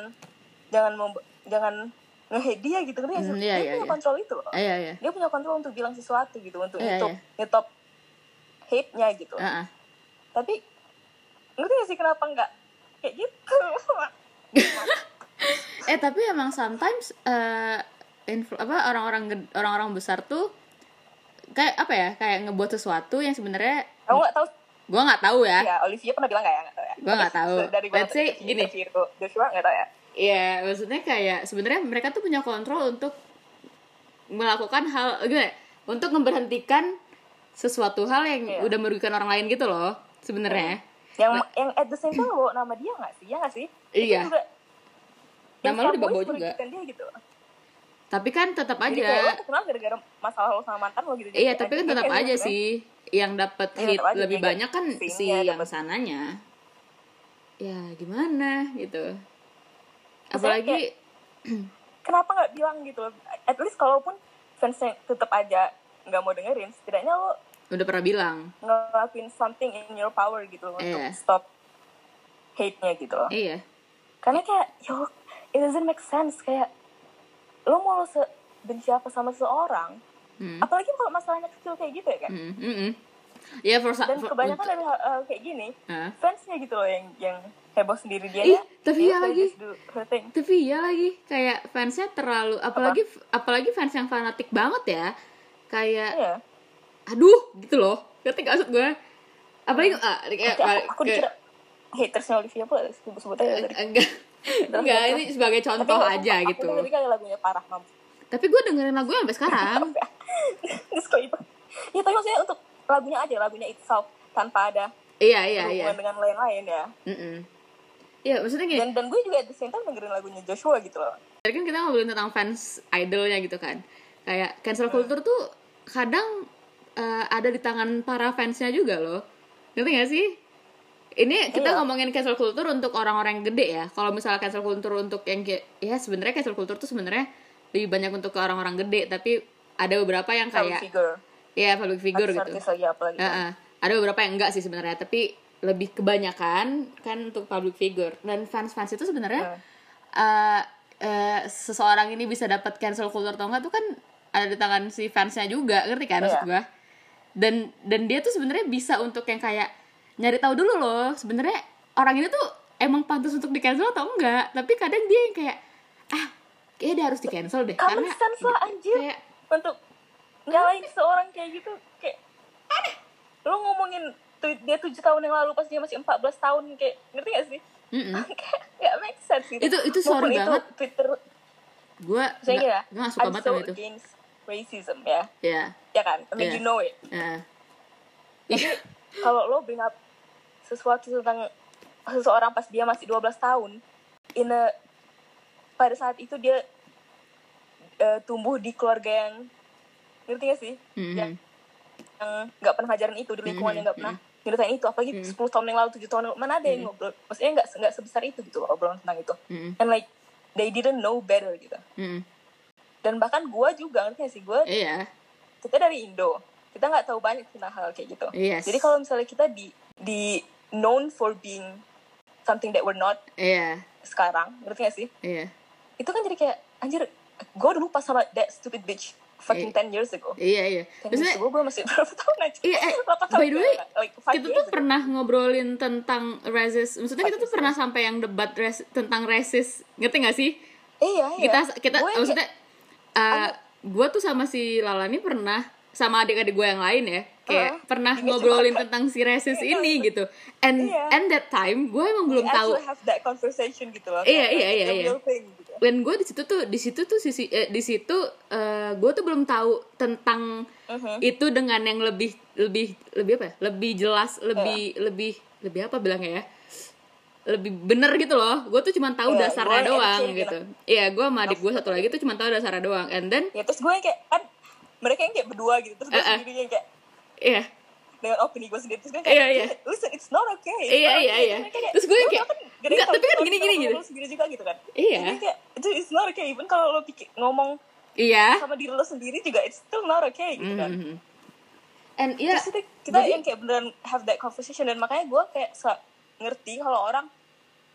Speaker 2: jangan memb- jangan nge-hate dia gitu ngerti gak sih?
Speaker 1: Hmm, iya,
Speaker 2: dia
Speaker 1: iya,
Speaker 2: punya
Speaker 1: iya.
Speaker 2: kontrol itu loh
Speaker 1: Ah, Iya, iya.
Speaker 2: dia punya kontrol untuk bilang sesuatu gitu untuk
Speaker 1: Iya,
Speaker 2: nyetop
Speaker 1: iya.
Speaker 2: nyetop hate-nya gitu
Speaker 1: Ah, ah.
Speaker 2: tapi ngerti gak sih kenapa nggak kayak gitu
Speaker 1: Eh, tapi emang sometimes eh influ- apa orang-orang ged- orang-orang besar tuh kayak apa ya? Kayak ngebuat sesuatu yang sebenarnya
Speaker 2: kamu nggak tahu
Speaker 1: gua nggak tahu ya.
Speaker 2: ya Olivia pernah bilang nggak ya nggak tahu ya
Speaker 1: Gua nggak tahu.
Speaker 2: dari
Speaker 1: Let's say
Speaker 2: interview-
Speaker 1: gini.
Speaker 2: interview Joshua nggak tahu ya
Speaker 1: Iya, maksudnya kayak sebenarnya mereka tuh punya kontrol untuk melakukan hal gimana? ya? Untuk memberhentikan sesuatu hal yang
Speaker 2: Iya.
Speaker 1: udah merugikan orang lain gitu loh sebenarnya.
Speaker 2: yang yang at the same time bawa nama dia nggak sih ya nggak sih
Speaker 1: Iya.
Speaker 2: Itu juga yang
Speaker 1: Nama lu
Speaker 2: Starboy
Speaker 1: dibawa juga.
Speaker 2: merugikan dia gitu
Speaker 1: Tapi kan tetap aja
Speaker 2: jadi kayak lo terkenal gara-gara masalah lo sama mantan lo gitu
Speaker 1: Iya, tapi kan tetap aja sih yang dapat
Speaker 2: Iya,
Speaker 1: hit
Speaker 2: tetap aja,
Speaker 1: lebih
Speaker 2: kayak
Speaker 1: banyak kan
Speaker 2: scene-nya
Speaker 1: si yang
Speaker 2: dapet.
Speaker 1: sananya. Ya, gimana gitu.
Speaker 2: Maksudnya
Speaker 1: Apalagi
Speaker 2: kenapa nggak bilang gitu loh? at least kalaupun fansnya tetap aja nggak mau dengerin setidaknya lo
Speaker 1: udah pernah bilang.
Speaker 2: ngelakuin something in your power gitu loh untuk
Speaker 1: Iya.
Speaker 2: stop hate-nya gitu loh
Speaker 1: Iya.
Speaker 2: karena kayak yo it doesn't make sense kayak lo mau lo benci apa sama seseorang
Speaker 1: Hmm.
Speaker 2: apalagi kalau masalahnya kecil kayak gitu ya kan
Speaker 1: Hmm, hmm, hmm. Ya, for,
Speaker 2: dan
Speaker 1: for-
Speaker 2: kebanyakan
Speaker 1: untuk-
Speaker 2: dari hal- hal kayak gini
Speaker 1: Hah?
Speaker 2: fansnya gitu loh yang yang heboh sendiri dia
Speaker 1: Ih,
Speaker 2: ya.
Speaker 1: tapi
Speaker 2: Dia
Speaker 1: iya
Speaker 2: tuh
Speaker 1: lagi.
Speaker 2: just do her thing.
Speaker 1: tapi iya lagi kayak fansnya terlalu apalagi apalagi fans yang fanatik banget ya kayak
Speaker 2: Iya.
Speaker 1: aduh gitu loh ngerti gak maksud gue apalagi ah, kayak
Speaker 2: Kayak Iya. aku, aku
Speaker 1: kayak- eh,
Speaker 2: dikira hatersnya Olivia pula sebut-sebut aja tadi.
Speaker 1: enggak enggak ini sebagai
Speaker 2: Tapi
Speaker 1: contoh
Speaker 2: aku-
Speaker 1: aja gitu
Speaker 2: Aku dengerin kali lagunya parah mampus.
Speaker 1: tapi gue dengerin lagu sampai sekarang
Speaker 2: Terus kok itu. Ya tapi maksudnya untuk lagunya aja lagunya itself tanpa ada
Speaker 1: iya iya iya
Speaker 2: hubungan dengan lain-lain ya
Speaker 1: Mm-mm. iya maksudnya gini
Speaker 2: dan dan gue juga at the same time dengerin lagunya Joshua gitu loh
Speaker 1: tadi kan kita ngobrolin tentang fans idolnya gitu kan kayak cancel culture tuh kadang eh, ada di tangan para fansnya juga loh ngerti gak sih ini kita ngomongin cancel culture untuk orang-orang yang gede ya kalau misalnya cancel culture untuk yang kayak- ya sebenarnya cancel culture tuh sebenarnya lebih banyak untuk ke orang-orang gede tapi ada beberapa yang
Speaker 2: Some
Speaker 1: kayak
Speaker 2: figure
Speaker 1: ya public figure gitu
Speaker 2: artis lagi apa lagi
Speaker 1: Heeh. Ada beberapa yang enggak sih sebenarnya, tapi lebih kebanyakan kan untuk public figure dan fans-fans itu sebenarnya eh, eh, seseorang ini bisa dapat cancel culture atau enggak tuh kan ada di tangan si fansnya juga, ngerti kan maksud
Speaker 2: Iya.
Speaker 1: gua? Dan dan dia tuh sebenarnya bisa untuk yang kayak nyari tahu dulu loh, sebenarnya orang ini tuh emang pantas untuk di cancel atau enggak, tapi kadang dia yang kayak ah, kayaknya dia harus di cancel deh karena
Speaker 2: common
Speaker 1: gitu."
Speaker 2: sense lah anjir
Speaker 1: kayak
Speaker 2: untuk nyalain seorang kayak gitu kayak lo ngomongin tweet dia tujuh tahun yang lalu pas dia masih 14 tahun kayak ngerti gak sih
Speaker 1: Mm-mm.
Speaker 2: Kayak nggak make sense gitu
Speaker 1: Hmm. Itu- itu sorry
Speaker 2: Maupun
Speaker 1: banget.
Speaker 2: itu Twitter
Speaker 1: gua
Speaker 2: saya
Speaker 1: nggak-
Speaker 2: kira
Speaker 1: gua nggak suka
Speaker 2: I'm
Speaker 1: banget
Speaker 2: gitu ya? so
Speaker 1: sama itu.
Speaker 2: against racism ya
Speaker 1: Ya.
Speaker 2: ya kan I mean
Speaker 1: Iya.
Speaker 2: you know it
Speaker 1: Heeh.
Speaker 2: kalau lo bring up sesuatu tentang seseorang pas dia masih 12 tahun in a- pada saat itu dia eh, tumbuh di keluarga yang ngerti gak sih
Speaker 1: Mhm.
Speaker 2: yang yang Eh, nggak pernah ngajarin itu
Speaker 1: Hmm,
Speaker 2: di lingkungan yang nggak pernah nyeritain itu apalagi 10 tahun yang lalu 7 tahun yang lalu, mana ada
Speaker 1: Hmm.
Speaker 2: yang ngobrol maksudnya nggak nggak sebesar itu gitu loh obrolan tentang itu
Speaker 1: Mm-mm.
Speaker 2: and like they didn't know better gitu
Speaker 1: Mm-mm.
Speaker 2: dan bahkan gua juga ngerti gak sih gua
Speaker 1: Mm-hmm. Iya.
Speaker 2: kita dari Indo kita nggak tahu banyak tentang hal kayak gitu
Speaker 1: Yes.
Speaker 2: jadi kalau misalnya kita di di known for being something that we're not
Speaker 1: Iya.
Speaker 2: sekarang ngerti gak sih
Speaker 1: Iya.
Speaker 2: itu kan jadi kayak anjir gue dulu pas sama that stupid bitch fucking 10 years ago
Speaker 1: Iya, iya.
Speaker 2: 10 years
Speaker 1: Maksudnya
Speaker 2: ago gue masih berapa tahun aja
Speaker 1: Iya, eh,
Speaker 2: 8 tahun
Speaker 1: by the way,
Speaker 2: ago, like, five
Speaker 1: kita
Speaker 2: years
Speaker 1: tuh
Speaker 2: ago.
Speaker 1: pernah ngobrolin tentang resist. Maksudnya kita tuh pernah sampai yang debat res- tentang resist. Ngerti gak sih?
Speaker 2: iya iya
Speaker 1: Kita kita
Speaker 2: Gue kayak-
Speaker 1: maksudnya eh gue tuh sama si Lalani pernah sama adik-adik gue yang lain ya kayak
Speaker 2: Heeh.
Speaker 1: pernah
Speaker 2: Uh-huh. Ini
Speaker 1: ngobrolin tentang si resist ini gitu and
Speaker 2: Iya.
Speaker 1: and that time gue emang belum
Speaker 2: we
Speaker 1: tahu
Speaker 2: actually have that conversation gitu loh
Speaker 1: Iya,
Speaker 2: kayak,
Speaker 1: iya,
Speaker 2: it's
Speaker 1: iya,
Speaker 2: a
Speaker 1: iya.
Speaker 2: real thing gitu.
Speaker 1: dan gue di situ tuh di situ tuh sisi eh, di situ gue tuh belum tahu tentang
Speaker 2: Uh-huh.
Speaker 1: itu dengan yang lebih lebih lebih apa ya? lebih jelas lebih
Speaker 2: Uh-huh.
Speaker 1: lebih lebih apa bilangnya ya lebih bener gitu loh gue tuh cuma tahu
Speaker 2: Iya,
Speaker 1: dasarnya
Speaker 2: gua
Speaker 1: doang
Speaker 2: educated
Speaker 1: gitu Iya gue sama adik gue satu lagi tuh cuma tahu dasarnya doang and then
Speaker 2: ya terus gue kayak kan mereka yang kayak berdua gitu terus gue
Speaker 1: Eh, eh.
Speaker 2: sendiri yang kayak
Speaker 1: iya
Speaker 2: dengan opini gue sendiri terus gue kayak
Speaker 1: Iya, iya.
Speaker 2: listen it's not okay it's
Speaker 1: Iya,
Speaker 2: not okay."
Speaker 1: iya, iya.
Speaker 2: Terus kayak,
Speaker 1: Terus gue
Speaker 2: "Lu
Speaker 1: kayak,
Speaker 2: kan gede
Speaker 1: "Enggak,
Speaker 2: tau
Speaker 1: tapi kan
Speaker 2: tau
Speaker 1: gini,
Speaker 2: tau
Speaker 1: gini,
Speaker 2: lu
Speaker 1: gitu."
Speaker 2: sendiri juga gitu kan
Speaker 1: Iya.
Speaker 2: Jadi kayak itu it's not okay even kalau lo pikir ngomong
Speaker 1: iya
Speaker 2: sama diri lo sendiri juga it's still not okay gitu kan
Speaker 1: Mhm. and iya
Speaker 2: terus itu kita
Speaker 1: jadi-
Speaker 2: yang kayak beneran have that conversation dan makanya gue kayak se- ngerti kalau orang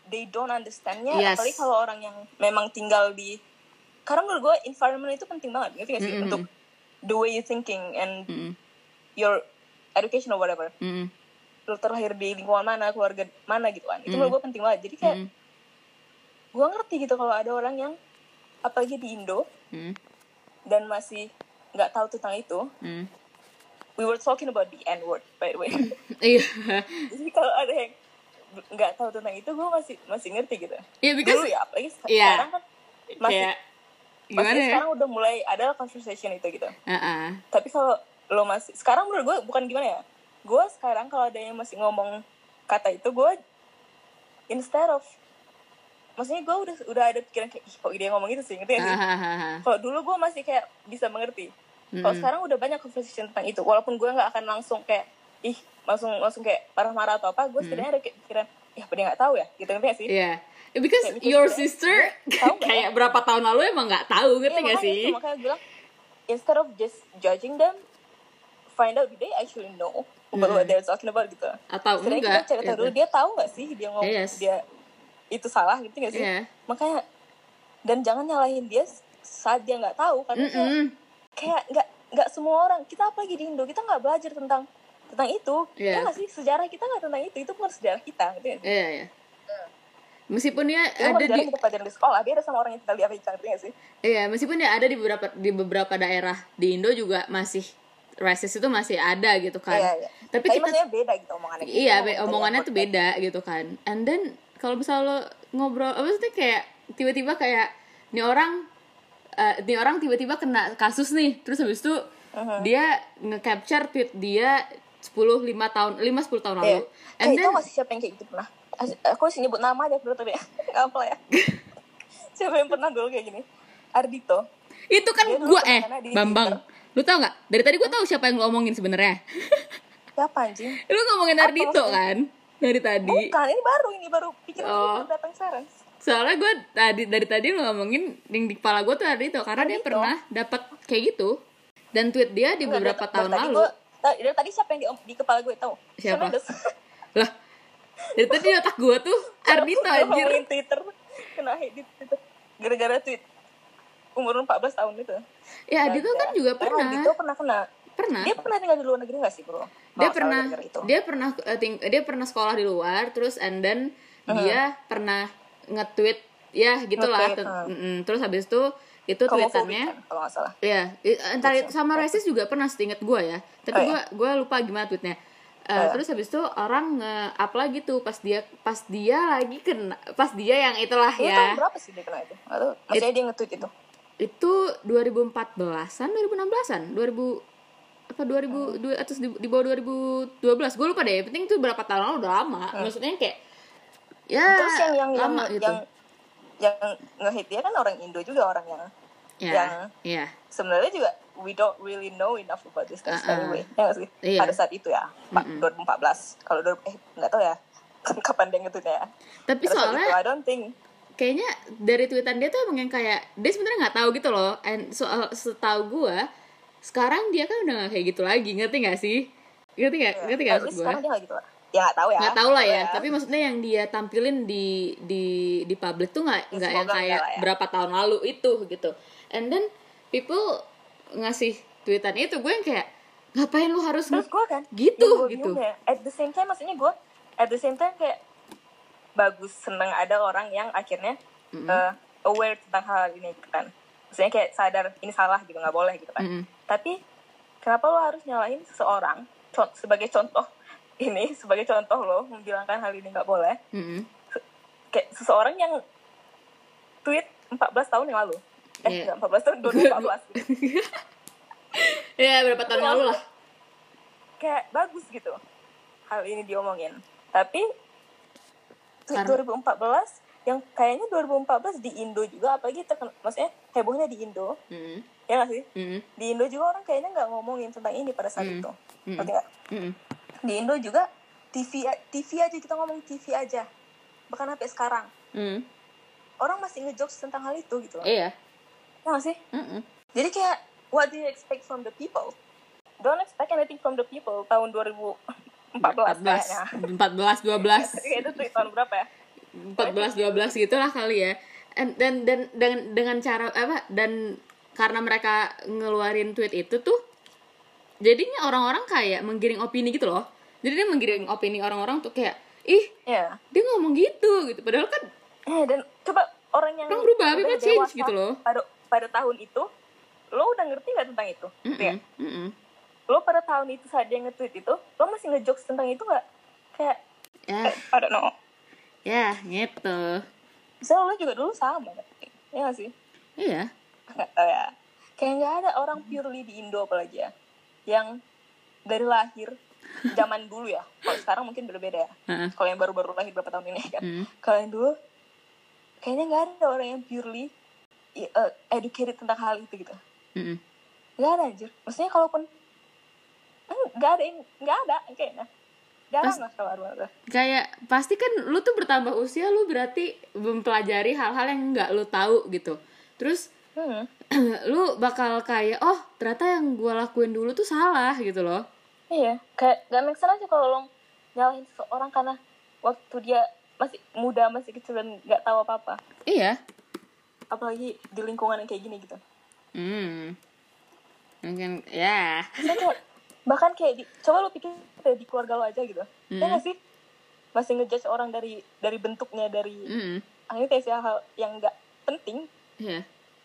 Speaker 2: they don't understandnya
Speaker 1: Yes.
Speaker 2: apalagi kalau orang yang memang tinggal di karena menurut gue environment itu penting banget ngerti gak sih
Speaker 1: Mm-mm.
Speaker 2: untuk the way you thinking and
Speaker 1: Mhm.
Speaker 2: your education or whatever
Speaker 1: Mhm.
Speaker 2: lu terlahir di lingkungan mana keluarga mana gitu kan itu
Speaker 1: Mm.
Speaker 2: menurut gue penting banget jadi kayak
Speaker 1: Mhm.
Speaker 2: gue ngerti gitu kalau ada orang yang apalagi di Indo
Speaker 1: Mhm.
Speaker 2: dan masih nggak tahu tentang itu
Speaker 1: Mhm.
Speaker 2: we were talking about the N word by the way
Speaker 1: iya
Speaker 2: jadi kalau ada yang nggak tahu tentang itu gue masih masih ngerti gitu
Speaker 1: iya because
Speaker 2: dulu ya apalagi se-
Speaker 1: Iya.
Speaker 2: sekarang kan masih
Speaker 1: kayak
Speaker 2: masih
Speaker 1: gimana ya
Speaker 2: sekarang udah mulai ada conversation itu gitu
Speaker 1: Heeh.
Speaker 2: tapi kalau lo masih sekarang menurut gue bukan gimana ya gue sekarang kalau ada yang masih ngomong kata itu gue instead of maksudnya gue udah udah ada pikiran kayak "Ih, kok dia ngomong gitu sih ngerti gak sih
Speaker 1: Ahahaha.
Speaker 2: kalau dulu gue masih kayak bisa mengerti kalau
Speaker 1: Mm-mm.
Speaker 2: sekarang udah banyak conversation tentang itu walaupun gue nggak akan langsung kayak ih langsung langsung kayak marah-marah atau apa gue sebenarnya ada kayak pikiran ya apa dia nggak tahu ya gitu ngerti gak sih
Speaker 1: Mm. Iya. Because
Speaker 2: Kayak gitu
Speaker 1: your
Speaker 2: sebenarnya
Speaker 1: sister
Speaker 2: gue tahu nggak
Speaker 1: kayak berapa tahun lalu emang nggak tahu
Speaker 2: Iya,
Speaker 1: ngerti nggak
Speaker 2: makanya
Speaker 1: sih?
Speaker 2: itu, makanya gue bilang instead of just judging them find out do they actually know about what they're talking about gitu
Speaker 1: Atau
Speaker 2: Sebenarnya
Speaker 1: Mm.
Speaker 2: kita
Speaker 1: Oh, enggak?
Speaker 2: cari tahu dulu
Speaker 1: gitu.
Speaker 2: dia tahu nggak sih dia ngomong
Speaker 1: Yes.
Speaker 2: dia itu salah gitu nggak sih
Speaker 1: Iya.
Speaker 2: makanya dan jangan nyalahin dia saat dia nggak tahu karena kayak-
Speaker 1: Mm-mm.
Speaker 2: kayak nggak nggak semua orang kita apalagi di Indo kita nggak belajar tentang tentang itu
Speaker 1: Iya.
Speaker 2: ya nggak sih sejarah kita nggak tentang itu itu bukan sejarah kita gitu ya
Speaker 1: Iya iya. Meskipun dia
Speaker 2: ada
Speaker 1: ada di
Speaker 2: kita pelajarin di sekolah dia ada sama orang yang tinggal di Amerika gitu nggak sih
Speaker 1: Iya, meskipun dia ada di beberapa di beberapa daerah di Indo juga masih rasis itu masih ada gitu kan.
Speaker 2: Iya, iya.
Speaker 1: Tapi kita
Speaker 2: maksudnya beda gitu omongannya
Speaker 1: iya
Speaker 2: Kita
Speaker 1: be-
Speaker 2: ngomong
Speaker 1: omongannya
Speaker 2: dari
Speaker 1: tuh
Speaker 2: yang
Speaker 1: beda gitu kan and then kalau misal lo ngobrol apa sih kayak tiba-tiba kayak nih orang eh, nih
Speaker 2: Uh-huh.
Speaker 1: orang tiba-tiba kena kasus nih terus habis itu dia nge-capture tweet dia 10 5 tahun 5 10 tahun lalu.
Speaker 2: Iya.
Speaker 1: And
Speaker 2: Kayak
Speaker 1: then
Speaker 2: tau gak sih siapa yang kayak gitu pernah? As- Aku sih nyebut nama aja dulu tadi. Gak apa ya. siapa yang pernah dulu kayak gini? Ardito.
Speaker 1: itu kan
Speaker 2: Dia dulu
Speaker 1: gua eh
Speaker 2: temenannya di
Speaker 1: Bambang. Lu tau nggak? Dari tadi gua tahu siapa yang lu omongin sebenarnya.
Speaker 2: Siapa anjing?
Speaker 1: lu ngomongin
Speaker 2: Apa
Speaker 1: Ardito
Speaker 2: maksudnya? Oh,
Speaker 1: kan dari tadi.
Speaker 2: Bukan, ini baru, ini baru pikiran
Speaker 1: Oh.
Speaker 2: baru datang sekarang.
Speaker 1: Soalnya gua tadi dari tadi lu ngomongin yang di kepala gua tuh Ardito karena dia
Speaker 2: Ardhito.
Speaker 1: pernah dapat kayak gitu. Dan tweet dia di beberapa
Speaker 2: Dari- dari
Speaker 1: tahun
Speaker 2: tadi
Speaker 1: lalu.
Speaker 2: gua- ta- dari tadi siapa yang di, di kepala gue tau?
Speaker 1: Siapa?
Speaker 2: Soalnya udah-
Speaker 1: Lah. Dari tadi di otak gua tuh Ardito
Speaker 2: udah
Speaker 1: anjir.
Speaker 2: ngomongin Twitter. Kena hate di Twitter. Gara-gara tweet. Umur 14 tahun itu.
Speaker 1: Ya Ardito kan juga pernah.
Speaker 2: Ardito pernah kena.
Speaker 1: Pernah.
Speaker 2: Dia pernah tinggal di luar negeri gak sih bro?
Speaker 1: dia
Speaker 2: Kalau salah
Speaker 1: pernah
Speaker 2: gara-gara itu.
Speaker 1: dia pernah eh, ting- dia pernah sekolah di luar terus and then dia pernah nge-tweet ya gitulah
Speaker 2: Nge-tweet,
Speaker 1: Te-
Speaker 2: hmm.
Speaker 1: mm, terus habis itu itu
Speaker 2: Homofobik
Speaker 1: tweetannya
Speaker 2: kan, kalau gak salah.
Speaker 1: ya i- entar itu sama resis juga pernah setinget gue ya tapi
Speaker 2: Oh, iya.
Speaker 1: gue gue lupa gimana tweetnya Eh, terus habis itu orang nge-up lagi tuh pas dia pas dia lagi kena pas dia yang itulah
Speaker 2: Itu
Speaker 1: ya
Speaker 2: tahun berapa sih dia kena itu? Gak tahu. Maksudnya dia nge-tweet itu.
Speaker 1: itu 2014-an 2016-an 2000 apa
Speaker 2: Oh.
Speaker 1: 2000 dua- atas di, di bawah 2012 gue lupa deh yang penting itu berapa tahun lalu udah lama maksudnya kayak ya
Speaker 2: Oh. Terus yang yang yang
Speaker 1: lama gitu
Speaker 2: yang yang nge-hate dia kan orang Indo juga orang yang
Speaker 1: ya
Speaker 2: yang-
Speaker 1: ya
Speaker 2: sebenarnya juga we don't really know enough about this things
Speaker 1: Uh-uh.
Speaker 2: anyway. Ya nggak sih?
Speaker 1: Iya.
Speaker 2: Pada saat itu ya, Pak 2014. Kalau 2000 eh nggak tahu ya. Kapan dia ngetweetnya ya.
Speaker 1: tapi
Speaker 2: Pada saat itu
Speaker 1: soalnya
Speaker 2: I don't think
Speaker 1: kayaknya dari tweetan dia tuh emang yang kayak dia sebenarnya nggak tahu gitu loh and soal setahu gue sekarang dia kan udah nggak kayak gitu lagi ngerti nggak sih ngerti nggak ngerti nggak
Speaker 2: at
Speaker 1: maksud
Speaker 2: least
Speaker 1: gue
Speaker 2: sekarang dia nggak gitu lah. Ya nggak tahu ya.
Speaker 1: nggak tahu lah ya tapi maksudnya yang dia tampilin di di di publik tuh nggak
Speaker 2: Ya,
Speaker 1: nggak yang
Speaker 2: semoga
Speaker 1: kayak
Speaker 2: enggak lah ya.
Speaker 1: berapa tahun lalu itu gitu and then people ngasih tweetan itu gue yang kayak ngapain lu harus
Speaker 2: terus
Speaker 1: nge-
Speaker 2: gue kan
Speaker 1: Gitu,
Speaker 2: yang gua
Speaker 1: gitu.
Speaker 2: bingung ya, at the same time maksudnya gue at the same time kayak bagus seneng ada orang yang akhirnya eh, aware tentang hal ini gitu kan maksudnya kayak sadar ini salah gitu nggak boleh gitu kan
Speaker 1: Mm-mm.
Speaker 2: tapi kenapa lo harus nyalahin seseorang con- sebagai contoh ini sebagai contoh lo membilangkan hal ini nggak boleh
Speaker 1: Mm-mm.
Speaker 2: kayak seseorang yang tweet 14 tahun yang lalu
Speaker 1: Iya.
Speaker 2: eh nggak 14 tahun 2014 gitu.
Speaker 1: ya berapa tahun lalu lah
Speaker 2: kayak bagus gitu hal ini diomongin tapi tweet
Speaker 1: Karena-
Speaker 2: 2014 yang kayaknya 2014 di Indo juga apalagi terkena, maksudnya hebohnya di Indo
Speaker 1: Mm-mm.
Speaker 2: ya nggak sih
Speaker 1: Mm-mm.
Speaker 2: di Indo juga orang kayaknya nggak ngomongin tentang ini pada saat itu
Speaker 1: Mm-mm.
Speaker 2: Ngerti nggak?
Speaker 1: Mm-mm.
Speaker 2: di Indo juga TV a- TV aja kita ngomong TV aja bahkan sampai sekarang
Speaker 1: Mm.
Speaker 2: orang masih ngejokes tentang hal itu gitu loh
Speaker 1: iya
Speaker 2: ya nggak sih
Speaker 1: Mm-mm.
Speaker 2: jadi kayak what do you expect from the people don't expect anything from the people tahun 2014 kayaknya
Speaker 1: 14 14 12
Speaker 2: Kayak itu tweet tahun berapa ya?
Speaker 1: 14 12 gitulah kali ya. And- dan dan dengan dengan cara apa dan karena mereka ngeluarin tweet itu tuh jadinya orang-orang kayak menggiring opini gitu loh. Jadi dia menggiring opini orang-orang tuh kayak ih
Speaker 2: Iya.
Speaker 1: dia ngomong gitu gitu padahal kan
Speaker 2: Eh, dan coba orang yang
Speaker 1: Orang berubah,
Speaker 2: udah
Speaker 1: people change
Speaker 2: dewasa
Speaker 1: gitu loh.
Speaker 2: Pada pada tahun itu lo udah ngerti nggak tentang itu?
Speaker 1: mm
Speaker 2: Iya. Lo pada tahun itu saat dia nge-tweet itu, lo masih ngejokes tentang itu nggak? Kayak eh,
Speaker 1: ya
Speaker 2: I don't know.
Speaker 1: ya gitu
Speaker 2: Bisa lo juga dulu sama kan? Iya nggak sih?
Speaker 1: iya
Speaker 2: Nggak tahu ya. Kayak nggak ada orang purely di Indo apalagi ya. Yang dari lahir zaman dulu ya. Kalau sekarang mungkin berbeda ya.
Speaker 1: Heeh.
Speaker 2: Kalau yang baru-baru lahir berapa tahun ini kan.
Speaker 1: Mm.
Speaker 2: kalau yang dulu kayaknya nggak ada orang yang purely i- eh, educated tentang hal itu gitu
Speaker 1: Mm-mm.
Speaker 2: nggak ada anjir maksudnya kalaupun eh, nggak ada yang nggak ada kayaknya jarang
Speaker 1: Pas-
Speaker 2: lah kalau ada
Speaker 1: kayak pasti kan lu tuh bertambah usia lu berarti mempelajari hal-hal yang nggak lu tahu gitu terus
Speaker 2: hmm.
Speaker 1: lu bakal kayak oh ternyata yang gue lakuin dulu tuh salah gitu loh
Speaker 2: iya kayak nggak make sense aja kalau lo nyalahin seseorang karena waktu dia masih muda masih kecil dan nggak tahu apa apa
Speaker 1: iya
Speaker 2: apalagi di lingkungan yang kayak gini gitu
Speaker 1: hmm mungkin ya
Speaker 2: Maksudnya kayak- bahkan kayak di, coba lo pikir kayak di keluarga lo aja gitu ya
Speaker 1: Hmm.
Speaker 2: nggak sih masih ngejudge orang dari dari bentuknya dari
Speaker 1: hmm
Speaker 2: akhirnya kayak sih hal yang nggak penting
Speaker 1: ya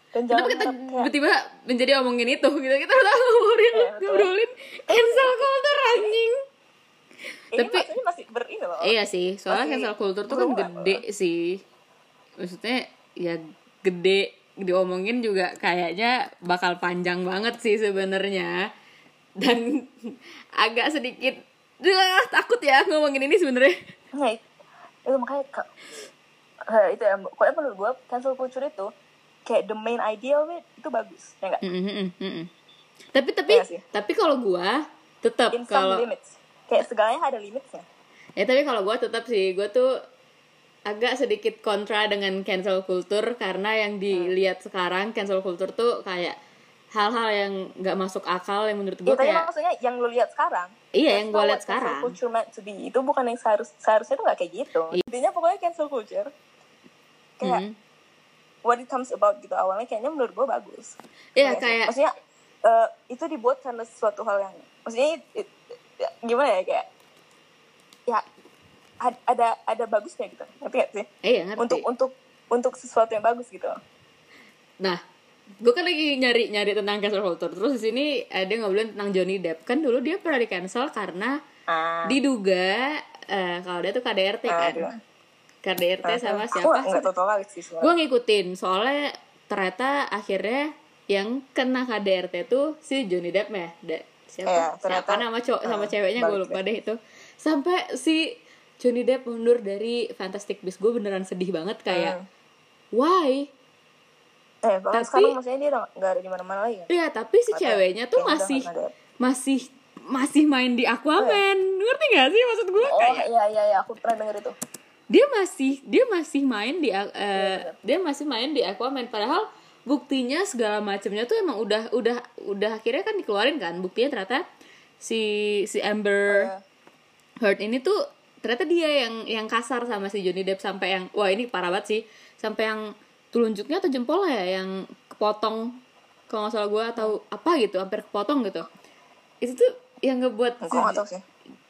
Speaker 2: dan jangan
Speaker 1: kenapa kita
Speaker 2: harap kayak-
Speaker 1: tiba-tiba menjadi omongin itu gitu kita udah ngobrolin
Speaker 2: Iya, betul.
Speaker 1: ngobrolin cancel culture anjing
Speaker 2: "Eh, ini
Speaker 1: tapi-
Speaker 2: maksudnya masih berini loh
Speaker 1: iya sih soalnya
Speaker 2: Masih
Speaker 1: cancel culture tuh kan
Speaker 2: berubah.
Speaker 1: gede sih maksudnya ya gede diomongin juga kayaknya bakal panjang banget sih sebenarnya dan agak sedikit Duh, takut ya ngomongin ini sebenarnya.
Speaker 2: Nah, itu makanya ke- eh, itu ya, pokoknya menurut gue cancel culture itu kayak the main idea of it itu bagus, ya nggak?
Speaker 1: Mm-mm, mm-mm, mm-mm. Tapi tapi
Speaker 2: Iya sih.
Speaker 1: tapi kalau gua tetap
Speaker 2: In some
Speaker 1: kalau
Speaker 2: limits, kayak segalanya ada limitnya.
Speaker 1: ya tapi kalau gua tetap sih gua tuh agak sedikit kontra dengan cancel culture karena yang dilihat sekarang cancel culture tuh kayak hal-hal yang nggak masuk akal yang menurut
Speaker 2: Ya,
Speaker 1: gua
Speaker 2: tapi
Speaker 1: kayak
Speaker 2: maksudnya yang lu lihat sekarang.
Speaker 1: Iya,
Speaker 2: that's
Speaker 1: yang
Speaker 2: not
Speaker 1: gua
Speaker 2: what
Speaker 1: lihat sekarang. Iya.
Speaker 2: Cancel culture meant to be. Itu bukan yang seharus, seharusnya tuh gak kayak gitu. Intinya pokoknya cancel culture. Kayak
Speaker 1: Mm.
Speaker 2: what it comes about gitu. Awalnya kayaknya menurut gue bagus.
Speaker 1: Iya,
Speaker 2: Kayak-
Speaker 1: kayak-
Speaker 2: Maksudnya eh, itu dibuat karena sesuatu hal yang... Maksudnya it- it- ya, gimana ya kayak... Ya ad- ada ada bagusnya gitu. Ngerti gak sih?
Speaker 1: eh ya ngerti.
Speaker 2: Untuk untuk untuk sesuatu yang bagus gitu.
Speaker 1: Nah, gue kan lagi nyari nyari tentang cancel culture. Terus di sini ada ngobrolin tentang Johnny Depp. Kan dulu dia pernah di cancel karena
Speaker 2: Ah.
Speaker 1: diduga eh, kalau dia tuh KDRT kan.
Speaker 2: Aduh.
Speaker 1: KDRT sama
Speaker 2: Aku
Speaker 1: siapa?
Speaker 2: nggak tahu banget sih soalnya.
Speaker 1: Gue ngikutin soalnya ternyata akhirnya yang kena KDRT tuh si Johnny Depp ya. Da-
Speaker 2: Iya,
Speaker 1: siapa?
Speaker 2: ternyata-
Speaker 1: siapa nama cowok sama
Speaker 2: eh,
Speaker 1: ceweknya gue
Speaker 2: balik
Speaker 1: lupa deh itu. Sampai si Johnny Depp mundur dari Fantastic Beasts gue beneran sedih banget kayak
Speaker 2: Hmm.
Speaker 1: why
Speaker 2: Eh, bahkan
Speaker 1: Tapi-
Speaker 2: sekarang maksudnya dia udah nggak ada di mana-mana lagi kan?
Speaker 1: Iya, tapi si
Speaker 2: Ada.
Speaker 1: ceweknya tuh
Speaker 2: Yang udah
Speaker 1: masih
Speaker 2: nggak ada.
Speaker 1: masih masih main di Aquaman.
Speaker 2: Iya.
Speaker 1: Ngerti gak sih maksud gue?
Speaker 2: Oh
Speaker 1: Kayak
Speaker 2: iya iya iya aku pernah denger itu.
Speaker 1: dia masih dia masih main di
Speaker 2: Iya,
Speaker 1: Aqu- eh, dia masih main di Aquaman padahal buktinya segala macamnya tuh emang udah udah udah akhirnya kan dikeluarin kan. Buktinya ternyata si si
Speaker 2: Iya.
Speaker 1: Amber Heard ini tuh ternyata dia yang yang kasar sama si Johnny Depp sampai yang wah ini parah banget sih sampai yang telunjuknya atau jempol ya yang kepotong kalau nggak salah gue atau
Speaker 2: Hmm.
Speaker 1: apa gitu hampir kepotong gitu itu tuh yang ngebuat
Speaker 2: Aku nggak tahu sih.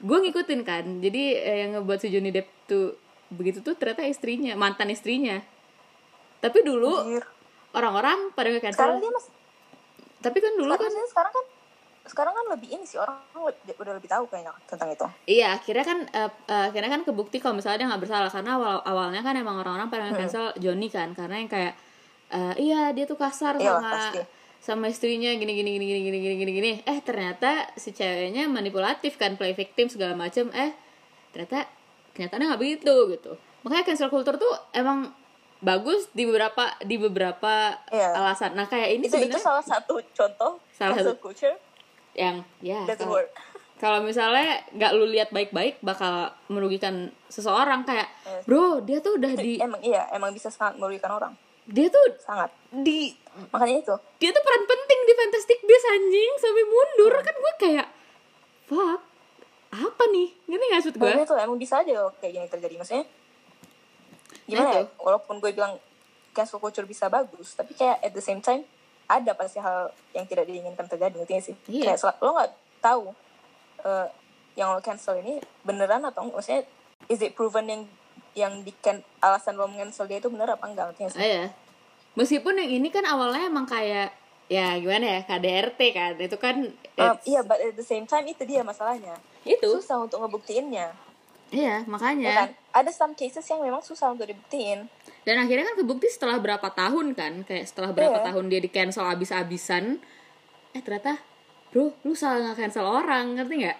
Speaker 1: gue ngikutin kan jadi eh, yang ngebuat si Johnny Depp tuh begitu tuh ternyata istrinya mantan istrinya tapi dulu
Speaker 2: Anjir.
Speaker 1: orang-orang pada nge
Speaker 2: Hmm. Sekarang dia masih
Speaker 1: tapi kan dulu
Speaker 2: sekarang,
Speaker 1: kan
Speaker 2: maksudnya sekarang kan sekarang kan lebih ini sih orang lebih- udah lebih tahu kayaknya tentang itu.
Speaker 1: Iya, akhirnya kan eh, eh, akhirnya kan kebukti kalau misalnya dia nggak bersalah karena awal awalnya kan emang orang-orang pada
Speaker 2: Hmm.
Speaker 1: cancel Johnny kan karena yang kayak eh, iya dia tuh kasar
Speaker 2: Iya,
Speaker 1: sama
Speaker 2: pasti.
Speaker 1: sama istrinya gini gini gini gini gini gini gini gini. Eh ternyata si ceweknya manipulatif kan play victim segala macam. Eh ternyata kenyataannya nggak begitu gitu. Makanya cancel culture tuh emang bagus di beberapa di beberapa
Speaker 2: Iya.
Speaker 1: alasan. Nah kayak ini
Speaker 2: Itu itu
Speaker 1: sebenarnya
Speaker 2: salah satu contoh
Speaker 1: Salah
Speaker 2: cancel culture
Speaker 1: yang ya
Speaker 2: doesn't
Speaker 1: kalau-
Speaker 2: work.
Speaker 1: kalau misalnya nggak lu lihat baik-baik bakal merugikan seseorang kayak
Speaker 2: Yes.
Speaker 1: bro dia tuh udah di
Speaker 2: Itu emang iya emang bisa sangat merugikan orang
Speaker 1: dia tuh
Speaker 2: sangat.
Speaker 1: di
Speaker 2: Makanya itu
Speaker 1: dia tuh peran penting di Fantastic Beasts anjing sampai mundur kan gue kayak fuck apa nih ngerti nggak maksud gue
Speaker 2: Makanya tuh emang bisa aja kalau kayak gini terjadi maksudnya gimana
Speaker 1: Nah,
Speaker 2: ya walaupun gue bilang cancel culture bisa bagus tapi kayak at the same time ada pasti hal yang tidak diinginkan terjadi ngerti nggak sih
Speaker 1: Iya.
Speaker 2: kayak sel- lo nggak tahu eh, yang lo cancel ini beneran atau enggak maksudnya is it proven yang yang di can- alasan lo cancel dia itu bener apa enggak ngerti nggak sih
Speaker 1: Ah, iya. Meskipun yang ini kan awalnya emang kayak ya gimana ya KDRT kan itu kan
Speaker 2: Um,
Speaker 1: it's-
Speaker 2: iya but at the same time itu dia masalahnya
Speaker 1: itu
Speaker 2: susah untuk ngebuktiinnya
Speaker 1: iya
Speaker 2: ya
Speaker 1: makanya
Speaker 2: kan ada some cases yang memang susah untuk dibuktiin
Speaker 1: Dan akhirnya kan kebukti setelah berapa tahun kan, kayak setelah berapa
Speaker 2: Iya.
Speaker 1: tahun dia di cancel abis-abisan, eh ternyata, bro, lu salah nggak cancel orang, ngerti nggak?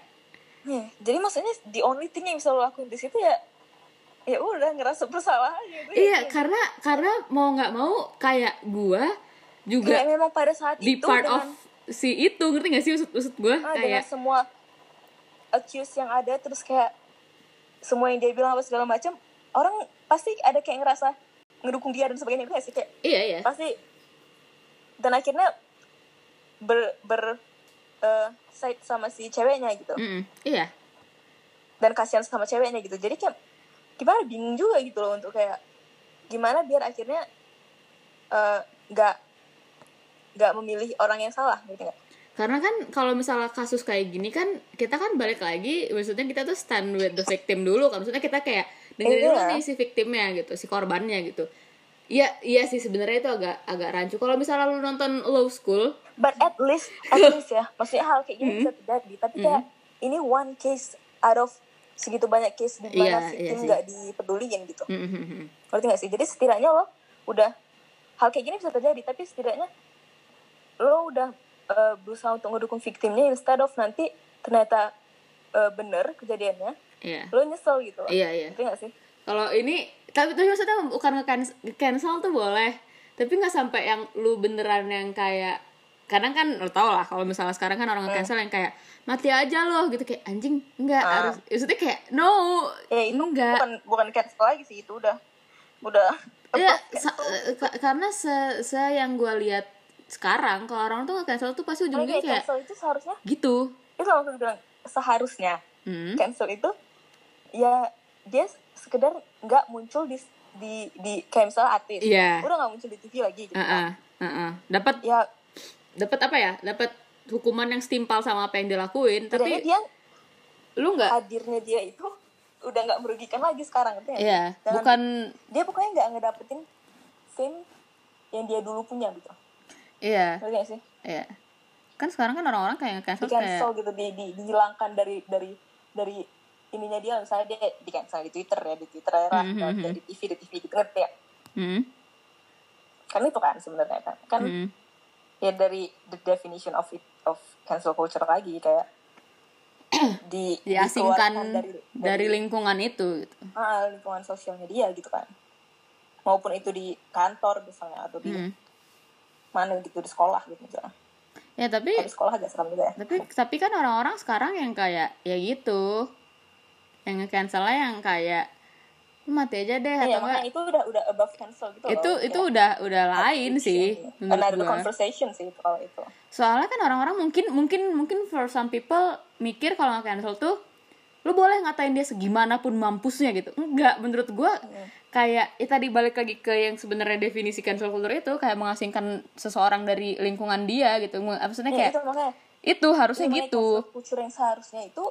Speaker 1: Iya.
Speaker 2: Ya, jadi maksudnya the only thing yang bisa lo lakuin di situ ya ya udah ngerasa bersalah aja gitu.
Speaker 1: Iya, karena karena mau nggak mau kayak gua
Speaker 2: Kayak
Speaker 1: juga
Speaker 2: memang pada saat
Speaker 1: di
Speaker 2: itu
Speaker 1: part of
Speaker 2: dengan,
Speaker 1: si itu, ngerti nggak sih maksud maksud gua?
Speaker 2: ah, dengan
Speaker 1: kayak
Speaker 2: semua accuse yang ada terus kayak semua yang dia bilang apa segala macam orang pasti ada kayak ngerasa ngedukung dia dan sebagainya Ngerti nggak sih kayak
Speaker 1: iya iya,
Speaker 2: pasti dan akhirnya ber ber eh, side sama si ceweknya gitu
Speaker 1: Mm-mm, iya.
Speaker 2: dan kasihan sama ceweknya gitu jadi kayak gimana bingung juga gitu loh untuk kayak gimana biar akhirnya eh, nggak nggak memilih orang yang salah gitu nggak
Speaker 1: Karena kan kalau misalnya kasus kayak gini kan kita kan balik lagi maksudnya kita tuh stand with the victim dulu kan maksudnya kita kayak dengerin dulu
Speaker 2: Iya.
Speaker 1: nih si victimnya gitu, si korbannya gitu. Iya, iya sih sebenarnya itu agak agak rancu. Kalau misalnya lu nonton Low School,
Speaker 2: but at least at least ya maksudnya hal kayak
Speaker 1: Hmm.
Speaker 2: gini bisa terjadi tapi kayak ini one case out of segitu banyak case
Speaker 1: Iya,
Speaker 2: di mana
Speaker 1: iya
Speaker 2: victim
Speaker 1: sih.
Speaker 2: nggak dipeduliin gitu
Speaker 1: mm-hmm.
Speaker 2: ngerti nggak sih jadi setidaknya lo udah hal kayak gini bisa terjadi tapi setidaknya lo udah eh, berusaha untuk ngedukung victimnya instead of nanti ternyata eh, bener kejadiannya
Speaker 1: Iya.
Speaker 2: lo nyesel gitu loh.
Speaker 1: Iya, iya.
Speaker 2: Ngerti nggak sih
Speaker 1: Kalau ini tapi tapi maksudnya bukan nge cancel tuh boleh. Tapi nggak sampai yang lu beneran yang kayak kadang kan lo tau lah kalau misalnya sekarang kan orang nge-cancel yang kayak mati aja loh gitu kayak anjing nggak harus maksudnya kayak no
Speaker 2: ya itu
Speaker 1: nggak
Speaker 2: bukan bukan cancel lagi sih itu udah udah
Speaker 1: Iya, sa- eh, ka- karena se, se yang gue lihat sekarang kalau orang tuh cancel tuh pasti
Speaker 2: Makanya
Speaker 1: ujungnya
Speaker 2: kayak
Speaker 1: kayak
Speaker 2: cancel itu seharusnya
Speaker 1: gitu.
Speaker 2: itu kalau aku bilang seharusnya
Speaker 1: Hmm.
Speaker 2: cancel itu ya dia sekedar nggak muncul di di di kayak misalnya artis
Speaker 1: Iya.
Speaker 2: udah nggak muncul di TV lagi gitu
Speaker 1: Heeh, heeh. Dapat
Speaker 2: ya
Speaker 1: dapat apa ya? Dapat hukuman yang setimpal sama apa yang dilakuin,
Speaker 2: tapi
Speaker 1: tapi eh,
Speaker 2: dia
Speaker 1: lu nggak
Speaker 2: hadirnya dia itu udah nggak merugikan lagi sekarang gitu
Speaker 1: Iya, bukan
Speaker 2: dia pokoknya nggak ngedapetin fame yang dia dulu punya gitu
Speaker 1: iya,
Speaker 2: ngerti nggak sih
Speaker 1: iya. Kan sekarang kan orang-orang kayak
Speaker 2: di
Speaker 1: cancel kayak
Speaker 2: cancel gitu di, di dihilangkan dari dari dari ininya dia misalnya dia di cancel di Twitter ya di Twitter ya
Speaker 1: Mhm,
Speaker 2: dan
Speaker 1: mhm.
Speaker 2: di TV di TV gitu ngerti ya
Speaker 1: hmm,
Speaker 2: kan itu kan sebenarnya kan kan
Speaker 1: hmm.
Speaker 2: ya dari the definition of it, of cancel culture lagi kayak di dikeluarkan
Speaker 1: diasingkan dari,
Speaker 2: dari
Speaker 1: lingkungan itu gitu.
Speaker 2: ah, lingkungan sosialnya dia gitu kan maupun itu di kantor misalnya atau di
Speaker 1: Hmm.
Speaker 2: mana gitu di sekolah gitu misalnya
Speaker 1: Ya, tapi
Speaker 2: Kalau di sekolah agak serem juga ya
Speaker 1: tapi tapi kan orang-orang sekarang yang kayak ya gitu. Yang nge-cancel yang kayak lu mati aja deh
Speaker 2: Iya,
Speaker 1: atau enggak.
Speaker 2: makanya itu udah udah above cancel gitu Iya,
Speaker 1: Itu
Speaker 2: loh.
Speaker 1: itu
Speaker 2: Kayak
Speaker 1: udah udah lain
Speaker 2: addiction.
Speaker 1: sih menurut
Speaker 2: Another
Speaker 1: gua.
Speaker 2: conversation sih itu kalau itu
Speaker 1: soalnya kan orang-orang mungkin mungkin mungkin for some people mikir kalau nggak cancel tuh lu boleh ngatain dia segimana pun mampusnya gitu enggak menurut gua
Speaker 2: Iya.
Speaker 1: kayak ya tadi balik lagi ke yang sebenarnya definisi cancel culture itu kayak mengasingkan seseorang dari lingkungan dia gitu Mu- maksudnya
Speaker 2: Ya,
Speaker 1: kayak
Speaker 2: itu makanya
Speaker 1: itu harusnya
Speaker 2: makanya
Speaker 1: gitu
Speaker 2: cancel culture yang seharusnya itu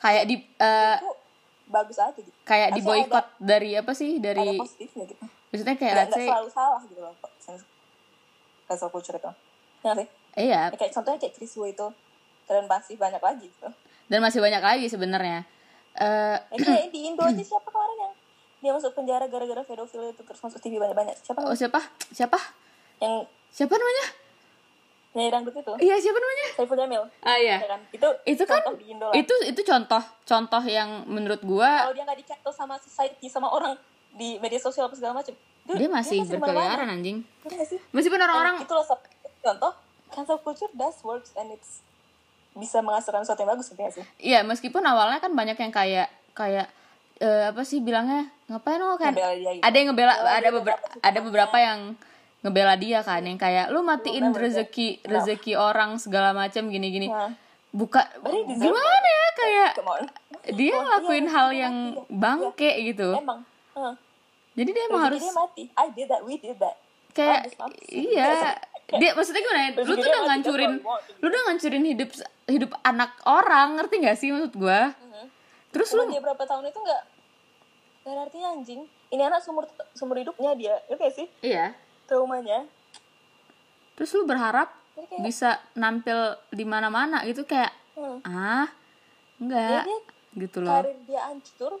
Speaker 1: kayak di eh,
Speaker 2: itu bagus aja gitu
Speaker 1: kayak di
Speaker 2: Harusnya
Speaker 1: boykot dari apa sih
Speaker 2: ada, ada
Speaker 1: dari
Speaker 2: positifnya gitu
Speaker 1: maksudnya kayak
Speaker 2: nggak
Speaker 1: let's
Speaker 2: nggak
Speaker 1: say,
Speaker 2: selalu salah gitu loh kok cancel- cancel culture itu ya nggak sih
Speaker 1: iya
Speaker 2: Ya, kayak contohnya kayak Chris Wu itu dan pasti banyak lagi gitu
Speaker 1: dan masih banyak lagi sebenarnya Eh,
Speaker 2: Nah, itu kayak di Indo aja siapa kemarin yang dia masuk penjara gara-gara pedofil itu terus masuk TV banyak-banyak siapa
Speaker 1: oh
Speaker 2: namanya?
Speaker 1: siapa siapa
Speaker 2: yang
Speaker 1: siapa namanya
Speaker 2: nyanyi dangdut itu
Speaker 1: iya siapa namanya
Speaker 2: Saiful Jamil
Speaker 1: ah iya
Speaker 2: Ya kan? itu
Speaker 1: itu kan
Speaker 2: contoh di Indo lah.
Speaker 1: itu itu contoh contoh yang menurut gua
Speaker 2: kalau dia nggak dicek sama society sama orang di media sosial apa segala macam itu-
Speaker 1: dia masih
Speaker 2: dimana-mana.
Speaker 1: berkeliaran Kan anjing
Speaker 2: Ngerti Iya nggak sih
Speaker 1: meskipun orang-orang
Speaker 2: itu loh sob- contoh cancel culture does works and it's bisa menghasilkan sesuatu yang bagus gitu ya sih
Speaker 1: iya meskipun awalnya kan banyak yang kayak kayak eh, apa sih bilangnya ngapain lo kan
Speaker 2: Ngebela dia gitu.
Speaker 1: ada yang ngebela
Speaker 2: Ngebela
Speaker 1: ada
Speaker 2: dia
Speaker 1: beberapa
Speaker 2: dapat hukumannya.
Speaker 1: ada beberapa yang ngebela dia kan yang kayak lu matiin
Speaker 2: Ngebela dia.
Speaker 1: rezeki
Speaker 2: Nah.
Speaker 1: rezeki orang segala macam gini-gini
Speaker 2: Nah.
Speaker 1: buka
Speaker 2: Berarti deserve.
Speaker 1: gimana ya kayak
Speaker 2: come on
Speaker 1: dia
Speaker 2: Iya,
Speaker 1: ngelakuin
Speaker 2: iya,
Speaker 1: hal
Speaker 2: iya,
Speaker 1: yang
Speaker 2: iya.
Speaker 1: bangke gitu
Speaker 2: emang Heeh.
Speaker 1: jadi dia emang
Speaker 2: Rezeki
Speaker 1: harus
Speaker 2: dia mati I did that we did that
Speaker 1: kayak
Speaker 2: Habis, habis.
Speaker 1: iya dia maksudnya gimana ya? lu
Speaker 2: Terus
Speaker 1: tuh
Speaker 2: dia
Speaker 1: udah
Speaker 2: lagi
Speaker 1: ngancurin
Speaker 2: telepon.
Speaker 1: lu udah ngancurin hidup hidup anak orang ngerti gak sih maksud gua terus
Speaker 2: Cuma
Speaker 1: lu
Speaker 2: dia berapa tahun itu nggak nggak ada artinya anjing ini anak seumur seumur hidupnya dia oke sih
Speaker 1: iya
Speaker 2: traumanya
Speaker 1: terus lu berharap
Speaker 2: Jadi Iya, kayak-
Speaker 1: bisa nampil di mana mana gitu kayak
Speaker 2: Hmm.
Speaker 1: ah enggak
Speaker 2: Jadi,
Speaker 1: gitu loh
Speaker 2: karir dia hancur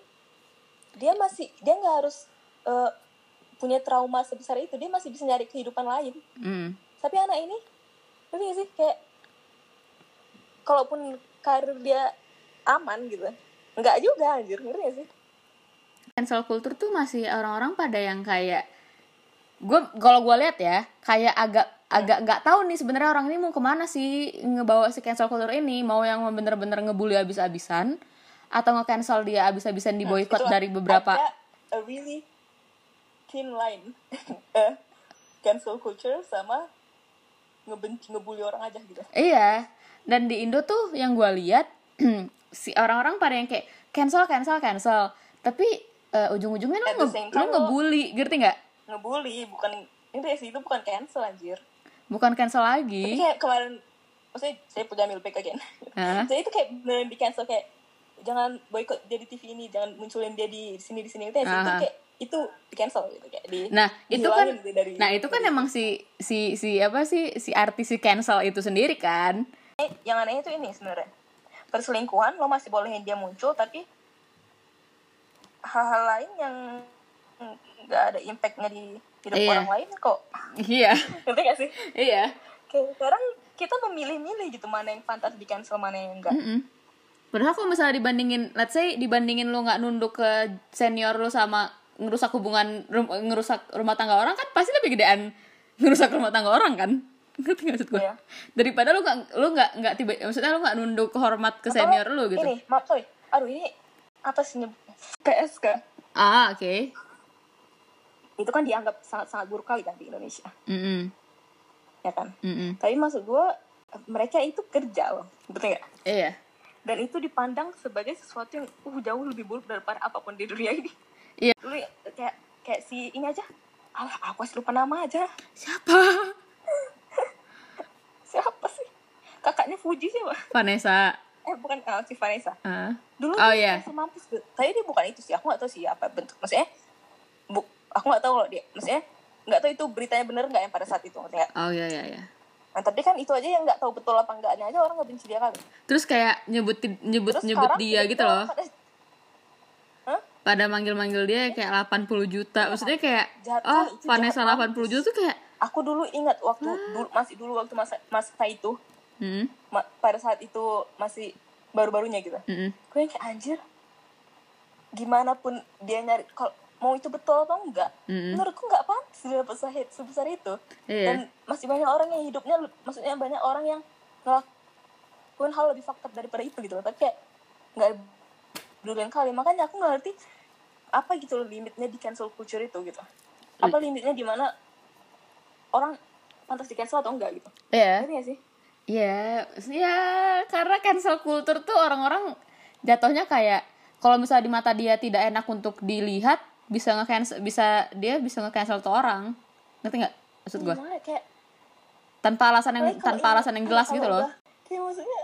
Speaker 2: dia masih dia nggak harus eh, punya trauma sebesar itu dia masih bisa nyari kehidupan lain
Speaker 1: Mm.
Speaker 2: tapi anak ini ngerti nggak sih kayak kalaupun karir dia aman gitu nggak juga anjir ngerti nggak sih
Speaker 1: cancel culture tuh masih orang-orang pada yang kayak gue kalau gue lihat ya kayak agak agak nggak tahu nih sebenarnya orang ini mau kemana sih ngebawa si cancel culture ini mau yang bener-bener ngebully abis-abisan atau nge-cancel dia abis-abisan di boykot
Speaker 2: Itulah,
Speaker 1: dari beberapa
Speaker 2: Nah, ada a really thin line Eh, cancel culture sama ngebenci ngebully orang aja gitu
Speaker 1: Iya, dan di Indo tuh yang gue lihat si orang-orang pada yang kayak cancel, cancel, cancel. Tapi eh, ujung-ujungnya lu,
Speaker 2: At the
Speaker 1: nge-
Speaker 2: same
Speaker 1: lu
Speaker 2: time,
Speaker 1: ngebully, ngerti nggak?
Speaker 2: ngebully bukan itu sih itu bukan cancel anjir
Speaker 1: Bukan cancel
Speaker 2: Tapi
Speaker 1: lagi.
Speaker 2: kayak kemarin maksudnya saya punya milk back again
Speaker 1: Hah?
Speaker 2: jadi itu kayak beneran di cancel kayak jangan boykot dia di TV ini jangan munculin dia di sini di sini itu ya sih. itu
Speaker 1: Aha.
Speaker 2: kayak itu di cancel gitu kayak di
Speaker 1: Nah itu kan,
Speaker 2: dihilangin gitu dari
Speaker 1: nah itu kan emang si si si apa sih si artis si cancel itu sendiri kan?
Speaker 2: Eh, yang anehnya itu ini sebenarnya perselingkuhan lo masih bolehin dia muncul tapi hal-hal lain yang nggak ada impactnya di hidup
Speaker 1: Iya.
Speaker 2: orang lain kok
Speaker 1: Iya,
Speaker 2: ngerti gak sih
Speaker 1: iya. Hmm,
Speaker 2: kayak sekarang kita memilih-milih gitu mana yang pantas di cancel mana yang enggak
Speaker 1: Mm-mm. Padahal kalau misalnya dibandingin, let's say dibandingin lo nggak nunduk ke senior lo sama ngerusak hubungan, rum- ngerusak rumah tangga orang kan pasti lebih gedean ngerusak rumah tangga orang kan? Ngerti nggak maksud gue?
Speaker 2: Iya.
Speaker 1: Daripada lo nggak lo nggak nggak tiba, maksudnya lo nggak nunduk hormat ke
Speaker 2: Atau
Speaker 1: senior lo gitu.
Speaker 2: Ini, maaf, sorry. Aduh, ini apa sih nyebutnya? PSK.
Speaker 1: Ah oke.
Speaker 2: Itu kan dianggap sangat-sangat buruk kali kan di Indonesia,
Speaker 1: Mm-mm.
Speaker 2: ya kan?
Speaker 1: Mm-mm.
Speaker 2: Tapi maksud gue, mereka itu kerja loh, betul nggak?
Speaker 1: Iya.
Speaker 2: Dan itu dipandang sebagai sesuatu yang uh, jauh lebih buruk daripada apapun di dunia ini.
Speaker 1: Iya.
Speaker 2: Dulu ya, kayak kayak si ini aja, alah aku harus lupa nama aja.
Speaker 1: Siapa?
Speaker 2: Siapa sih? Kakaknya Fuji siapa?
Speaker 1: Vanessa.
Speaker 2: Eh bukan, eh, si Vanessa.
Speaker 1: Ah.
Speaker 2: dulu
Speaker 1: Oh,
Speaker 2: oh,
Speaker 1: iya.
Speaker 2: iya. mampus gitu. tapi dia bukan itu sih aku nggak tahu sih apa bentuk maksudnya bu aku nggak tahu loh dia maksudnya nggak tahu itu beritanya bener nggak yang pada saat itu maksudnya
Speaker 1: Oh iya iya iya.
Speaker 2: nah tapi kan itu aja yang nggak tahu betul apa enggaknya aja orang nggak benci dia kali
Speaker 1: Terus kayak nyebut nyebut
Speaker 2: terus
Speaker 1: nyebut
Speaker 2: sekarang
Speaker 1: dia
Speaker 2: tiba-tiba
Speaker 1: gitu loh.
Speaker 2: orang pada- Hah?
Speaker 1: Pada manggil-manggil dia ya kayak 80 juta. Maksudnya kayak
Speaker 2: Jahat
Speaker 1: oh,
Speaker 2: kali, Iya, itu
Speaker 1: Vanessa
Speaker 2: jahat
Speaker 1: 80 juta tuh kayak
Speaker 2: aku dulu ingat waktu dulu masih dulu waktu masa masa itu
Speaker 1: hmm,
Speaker 2: ma- pada saat itu masih baru-barunya gitu
Speaker 1: hmm,
Speaker 2: gue yang kayak anjir gimana pun dia nyari kalau mau itu betul apa enggak
Speaker 1: Mm-mm.
Speaker 2: menurutku nggak pantas dia dapat sahid sebesar itu
Speaker 1: hmm." Iya.
Speaker 2: dan masih banyak orang yang hidupnya maksudnya banyak orang yang ngelakuin hal lebih faktor daripada itu gitu loh tapi kayak nggak duluan kali makanya aku nggak ngerti apa gitu loh limitnya di cancel culture itu gitu apa limitnya di mana orang pantas di cancel atau enggak gitu
Speaker 1: Iya.
Speaker 2: ngerti nggak sih
Speaker 1: Ya, ya karena cancel culture tuh orang-orang jatuhnya kayak kalau misalnya di mata dia tidak enak untuk dilihat bisa nge bisa dia bisa nge-cancel tuh orang. Ngerti nggak maksud gue?
Speaker 2: Gimana? kayak
Speaker 1: Tanpa alasan yang
Speaker 2: Iya. Apalagi kalau
Speaker 1: tanpa
Speaker 2: ini- kan
Speaker 1: alasan yang jelas
Speaker 2: kalau
Speaker 1: gitu loh.
Speaker 2: udah- Kayak maksudnya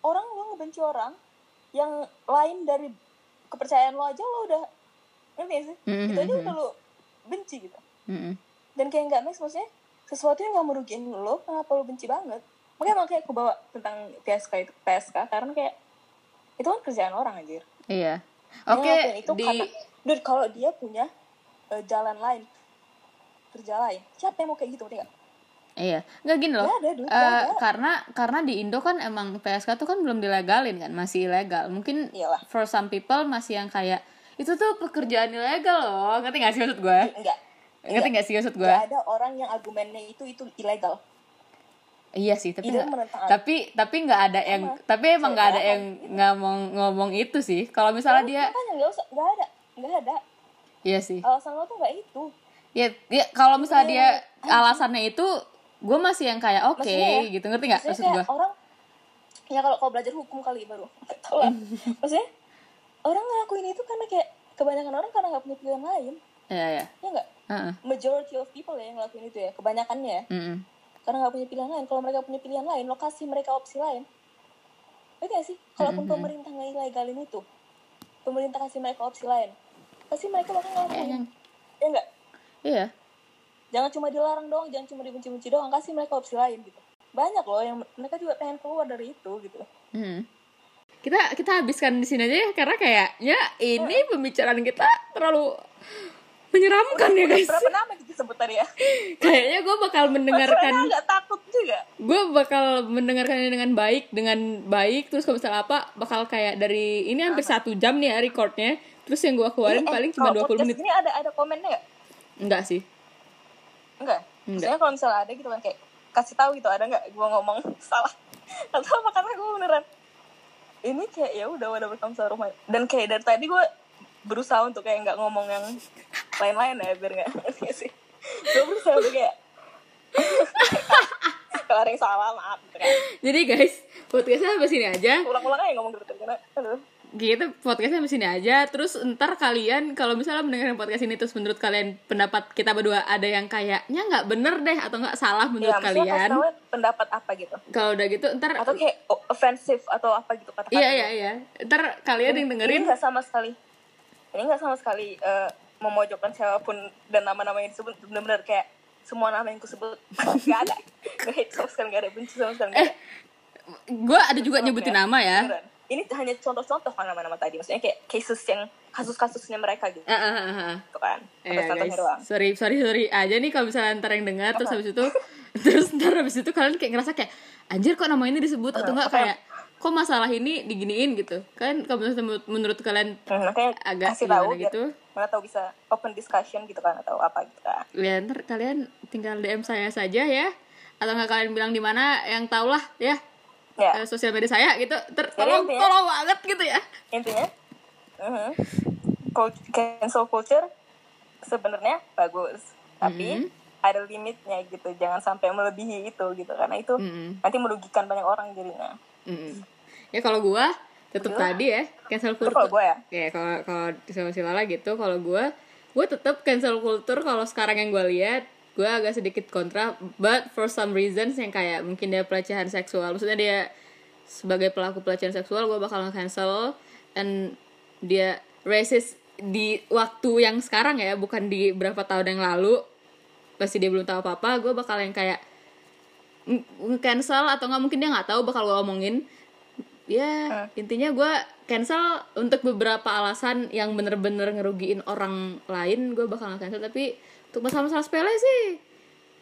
Speaker 2: orang lo ngebenci orang yang lain dari kepercayaan lo aja lo udah ngerti gak sih?
Speaker 1: Mhm,
Speaker 2: Itu aja
Speaker 1: mhm.
Speaker 2: udah lo benci gitu.
Speaker 1: Mm-mm.
Speaker 2: Dan kayak nggak match maksudnya sesuatu yang nggak merugiin lo kenapa lo benci banget? Makanya makanya aku bawa tentang PSK itu PSK karena kayak itu kan kerjaan orang anjir.
Speaker 1: Iya.
Speaker 2: Dia
Speaker 1: Oke,
Speaker 2: ngelakuin itu
Speaker 1: di
Speaker 2: karena- Dude, kalau dia punya eh, jalan lain kerja lain siapa yang mau kayak gitu ngerti nggak?
Speaker 1: Iya, nggak gini loh.
Speaker 2: Nggak ada, duit
Speaker 1: Eh,
Speaker 2: nggak ada.
Speaker 1: karena karena di Indo kan emang PSK tuh kan belum dilegalin kan, masih ilegal. Mungkin
Speaker 2: Iyalah.
Speaker 1: for some people masih yang kayak itu tuh pekerjaan ilegal loh. Ngerti gak sih maksud gue?
Speaker 2: Enggak. iya.
Speaker 1: Ngerti gak sih maksud gue?
Speaker 2: Gak ada orang yang argumennya itu itu ilegal.
Speaker 1: Iya sih, tapi
Speaker 2: Indo
Speaker 1: nggak-
Speaker 2: menentang.
Speaker 1: tapi tapi nggak ada yang tapi emang nggak ada yang ngomong ngomong itu sih. Kalau misalnya dia
Speaker 2: Makanya nggak usah, nggak ada, nggak ada.
Speaker 1: iya sih.
Speaker 2: Alasan lo tuh nggak itu.
Speaker 1: Ya, ya kalau
Speaker 2: Iya,
Speaker 1: misalnya dia alasannya itu gue masih yang kayak oke
Speaker 2: Maksudnya ya,
Speaker 1: gitu. Ngerti nggak
Speaker 2: Maksudnya
Speaker 1: maksud gue?
Speaker 2: kayak orang, ya kalau kau belajar hukum kali baru, nggak tahu lah. Maksudnya orang ngelakuin itu karena kayak kebanyakan orang karena nggak punya pilihan lain,
Speaker 1: Iya, iya.
Speaker 2: ya nggak?
Speaker 1: Heeh.
Speaker 2: Majority of people ya yang ngelakuin itu ya, kebanyakannya ya.
Speaker 1: Mm-mm.
Speaker 2: Karena nggak punya pilihan lain. Kalau mereka punya pilihan lain, lokasi mereka opsi lain. Ngerti nggak sih? Kalaupun
Speaker 1: Mm-hmm.
Speaker 2: pemerintah nggak ilegalin itu, pemerintah kasih mereka opsi lain, pasti mereka bakal ngelakuin. Ya nggak?
Speaker 1: Iya.
Speaker 2: jangan cuma dilarang doang jangan cuma dibenci-benci doang kasih mereka opsi lain gitu banyak loh yang mereka juga pengen keluar dari itu gitu
Speaker 1: Hmm. Kita kita habiskan di sini aja ya karena kayaknya ini
Speaker 2: Oh.
Speaker 1: pembicaraan kita terlalu menyeramkan ya guys.
Speaker 2: berapa nama kita sebut tadi ya
Speaker 1: Kayaknya gue bakal mendengarkan
Speaker 2: Karena agak takut juga
Speaker 1: gue bakal mendengarkannya dengan baik dengan baik terus kalau misalnya apa bakal kayak dari ini hampir satu jam nih ya recordnya terus yang gue keluarin
Speaker 2: Eh,
Speaker 1: paling cuma
Speaker 2: kalau
Speaker 1: 20
Speaker 2: podcast
Speaker 1: menit
Speaker 2: ini ada ada komennya nggak
Speaker 1: enggak sih
Speaker 2: enggak maksudnya kalau misalnya ada gitu kan kayak kasih tahu gitu ada nggak gue ngomong salah atau apa karena gue beneran ini kayak ya udah udah bersama rumah dan kayak dari tadi gue berusaha untuk kayak nggak ngomong yang lain-lain ya biar nggak ngerti sih gue berusaha untuk kayak kalau ada yang salah maaf gitu kan
Speaker 1: jadi guys podcastnya sampai sini aja
Speaker 2: ulang-ulang aja ngomong gitu karena aduh
Speaker 1: gitu podcastnya sampai sini aja terus ntar kalian kalau misalnya mendengarkan podcast ini terus menurut kalian pendapat kita berdua ada yang kayaknya nggak bener deh atau nggak salah menurut
Speaker 2: ya, maksudnya
Speaker 1: kalian
Speaker 2: kasih tahu pendapat apa gitu
Speaker 1: kalau udah gitu ntar
Speaker 2: atau kayak o- offensive atau apa Iya. gitu kata-kata
Speaker 1: iya iya iya ntar kalian yang dengerin
Speaker 2: ini nggak sama sekali ini nggak sama sekali eh, memojokkan siapapun dan nama-nama yang disebut benar-benar kayak semua nama yang kusebut nggak ada nggak hate sama sekali nggak ada benci sama sekali nggak ada.
Speaker 1: gue ada juga nyebutin
Speaker 2: ya.
Speaker 1: nama Eh, ya
Speaker 2: Beneran. ini hanya contoh-contoh kan nama-nama tadi maksudnya kayak cases yang kasus-kasusnya mereka gitu
Speaker 1: Ah, ah, ah, ah.
Speaker 2: kan
Speaker 1: Ya
Speaker 2: contoh-contohnya
Speaker 1: guys,
Speaker 2: doang
Speaker 1: sorry, sorry, sorry aja nih kalau misalnya ntar yang dengar terus habis itu terus ntar habis itu kalian kayak ngerasa kayak anjir kok nama ini disebut atau enggak
Speaker 2: Apa ya? yang-
Speaker 1: kayak kok masalah ini diginiin gitu kan kalau menurut, menurut kalian
Speaker 2: Hmm, makanya
Speaker 1: Agak
Speaker 2: kasih
Speaker 1: gimana
Speaker 2: tahu biar
Speaker 1: gitu.
Speaker 2: mana tahu bisa open discussion gitu kan atau apa gitu kan.
Speaker 1: ya ntar kalian tinggal DM saya saja ya atau nggak kalian bilang di mana yang tau lah ya
Speaker 2: Ya,
Speaker 1: eh, sosial media saya gitu ter tolong
Speaker 2: intinya-
Speaker 1: tolong banget gitu ya
Speaker 2: intinya mhm, cult- cancel culture sebenarnya bagus, tapi ada limitnya gitu. Jangan sampai melebihi itu gitu karena itu
Speaker 1: Mm-mm.
Speaker 2: nanti merugikan banyak orang jadinya.
Speaker 1: Mm-mm. ya kalau gua tetap tadi ya cancel
Speaker 2: Itu
Speaker 1: culture
Speaker 2: kalau gue ya.
Speaker 1: ya kalau kalau sama si Lala gitu kalau gua gue tetap cancel culture kalau sekarang yang gua lihat gua agak sedikit kontra but for some reasons yang kayak mungkin dia pelecehan seksual maksudnya dia sebagai pelaku pelecehan seksual gua bakal cancel and dia racist di waktu yang sekarang ya bukan di berapa tahun yang lalu pasti dia belum tahu apa apa gue bakal yang kayak ng- cancel atau nggak mungkin dia nggak tahu bakal gue omongin ya intinya gue cancel untuk beberapa alasan yang bener-bener ngerugiin orang lain gue bakal nggak cancel tapi untuk masalah-masalah sepele sih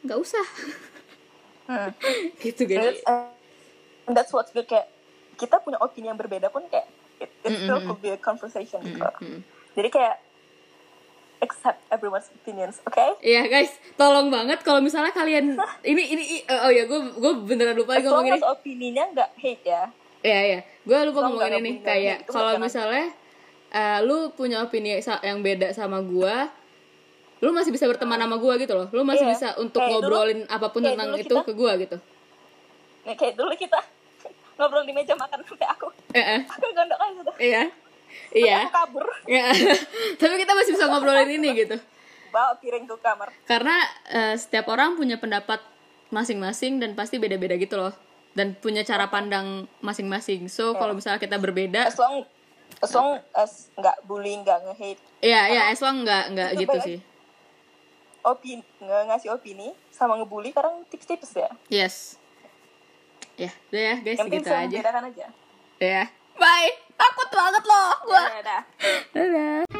Speaker 1: nggak usah
Speaker 2: Hmm.
Speaker 1: gitu guys
Speaker 2: That's, uh, and that's what's good kayak kita punya opini yang berbeda pun kayak it, it still could be a conversation gitu. Jadi kayak accept everyone's opinions, oke?
Speaker 1: Iya guys, tolong banget kalau misalnya kalian ini ini i- oh ya gue gue beneran lupa
Speaker 2: As long
Speaker 1: ngomong ini.
Speaker 2: as opininya nggak hate ya.
Speaker 1: Iya iya, gue lupa
Speaker 2: Kalau nggak
Speaker 1: ngomongin
Speaker 2: ada
Speaker 1: ini
Speaker 2: opini yang
Speaker 1: kayak
Speaker 2: gitu,
Speaker 1: kalau
Speaker 2: jangan.
Speaker 1: misalnya eh, lu punya opini sa- yang beda sama gue, lu masih bisa berteman sama gue gitu loh, lu masih
Speaker 2: Ah. Iya.
Speaker 1: bisa untuk
Speaker 2: Kayak dulu-
Speaker 1: ngobrolin apapun
Speaker 2: kayak
Speaker 1: tentang
Speaker 2: dulu
Speaker 1: itu
Speaker 2: kita-
Speaker 1: ke gue gitu.
Speaker 2: Nah, kayak dulu kita ngobrol di meja makan sampai aku
Speaker 1: Eh, eh,
Speaker 2: aku gondokan sudah.
Speaker 1: iya iya
Speaker 2: Aku kabur
Speaker 1: iya, tapi kita masih bisa ngobrolin ini gitu,
Speaker 2: bawa piring ke kamar.
Speaker 1: karena eh, setiap orang punya pendapat masing-masing dan pasti beda-beda gitu loh, dan punya cara pandang masing-masing. So
Speaker 2: Iya.
Speaker 1: kalau misalnya kita berbeda,
Speaker 2: As long as long as nggak bullying, nggak nge-hate,
Speaker 1: iya iya, as long nggak nggak
Speaker 2: Itu
Speaker 1: gitu
Speaker 2: balik-
Speaker 1: sih.
Speaker 2: opini nge- ngasih opini sama ngebully kadang tipis-tipis ya.
Speaker 1: Yes. Ya, udah ya guys,
Speaker 2: Yang penting
Speaker 1: segitu
Speaker 2: bisa
Speaker 1: aja.
Speaker 2: membedakan aja.
Speaker 1: Ya. Bye. Takut banget loh gua.
Speaker 2: Ya, udah.
Speaker 1: Dadah.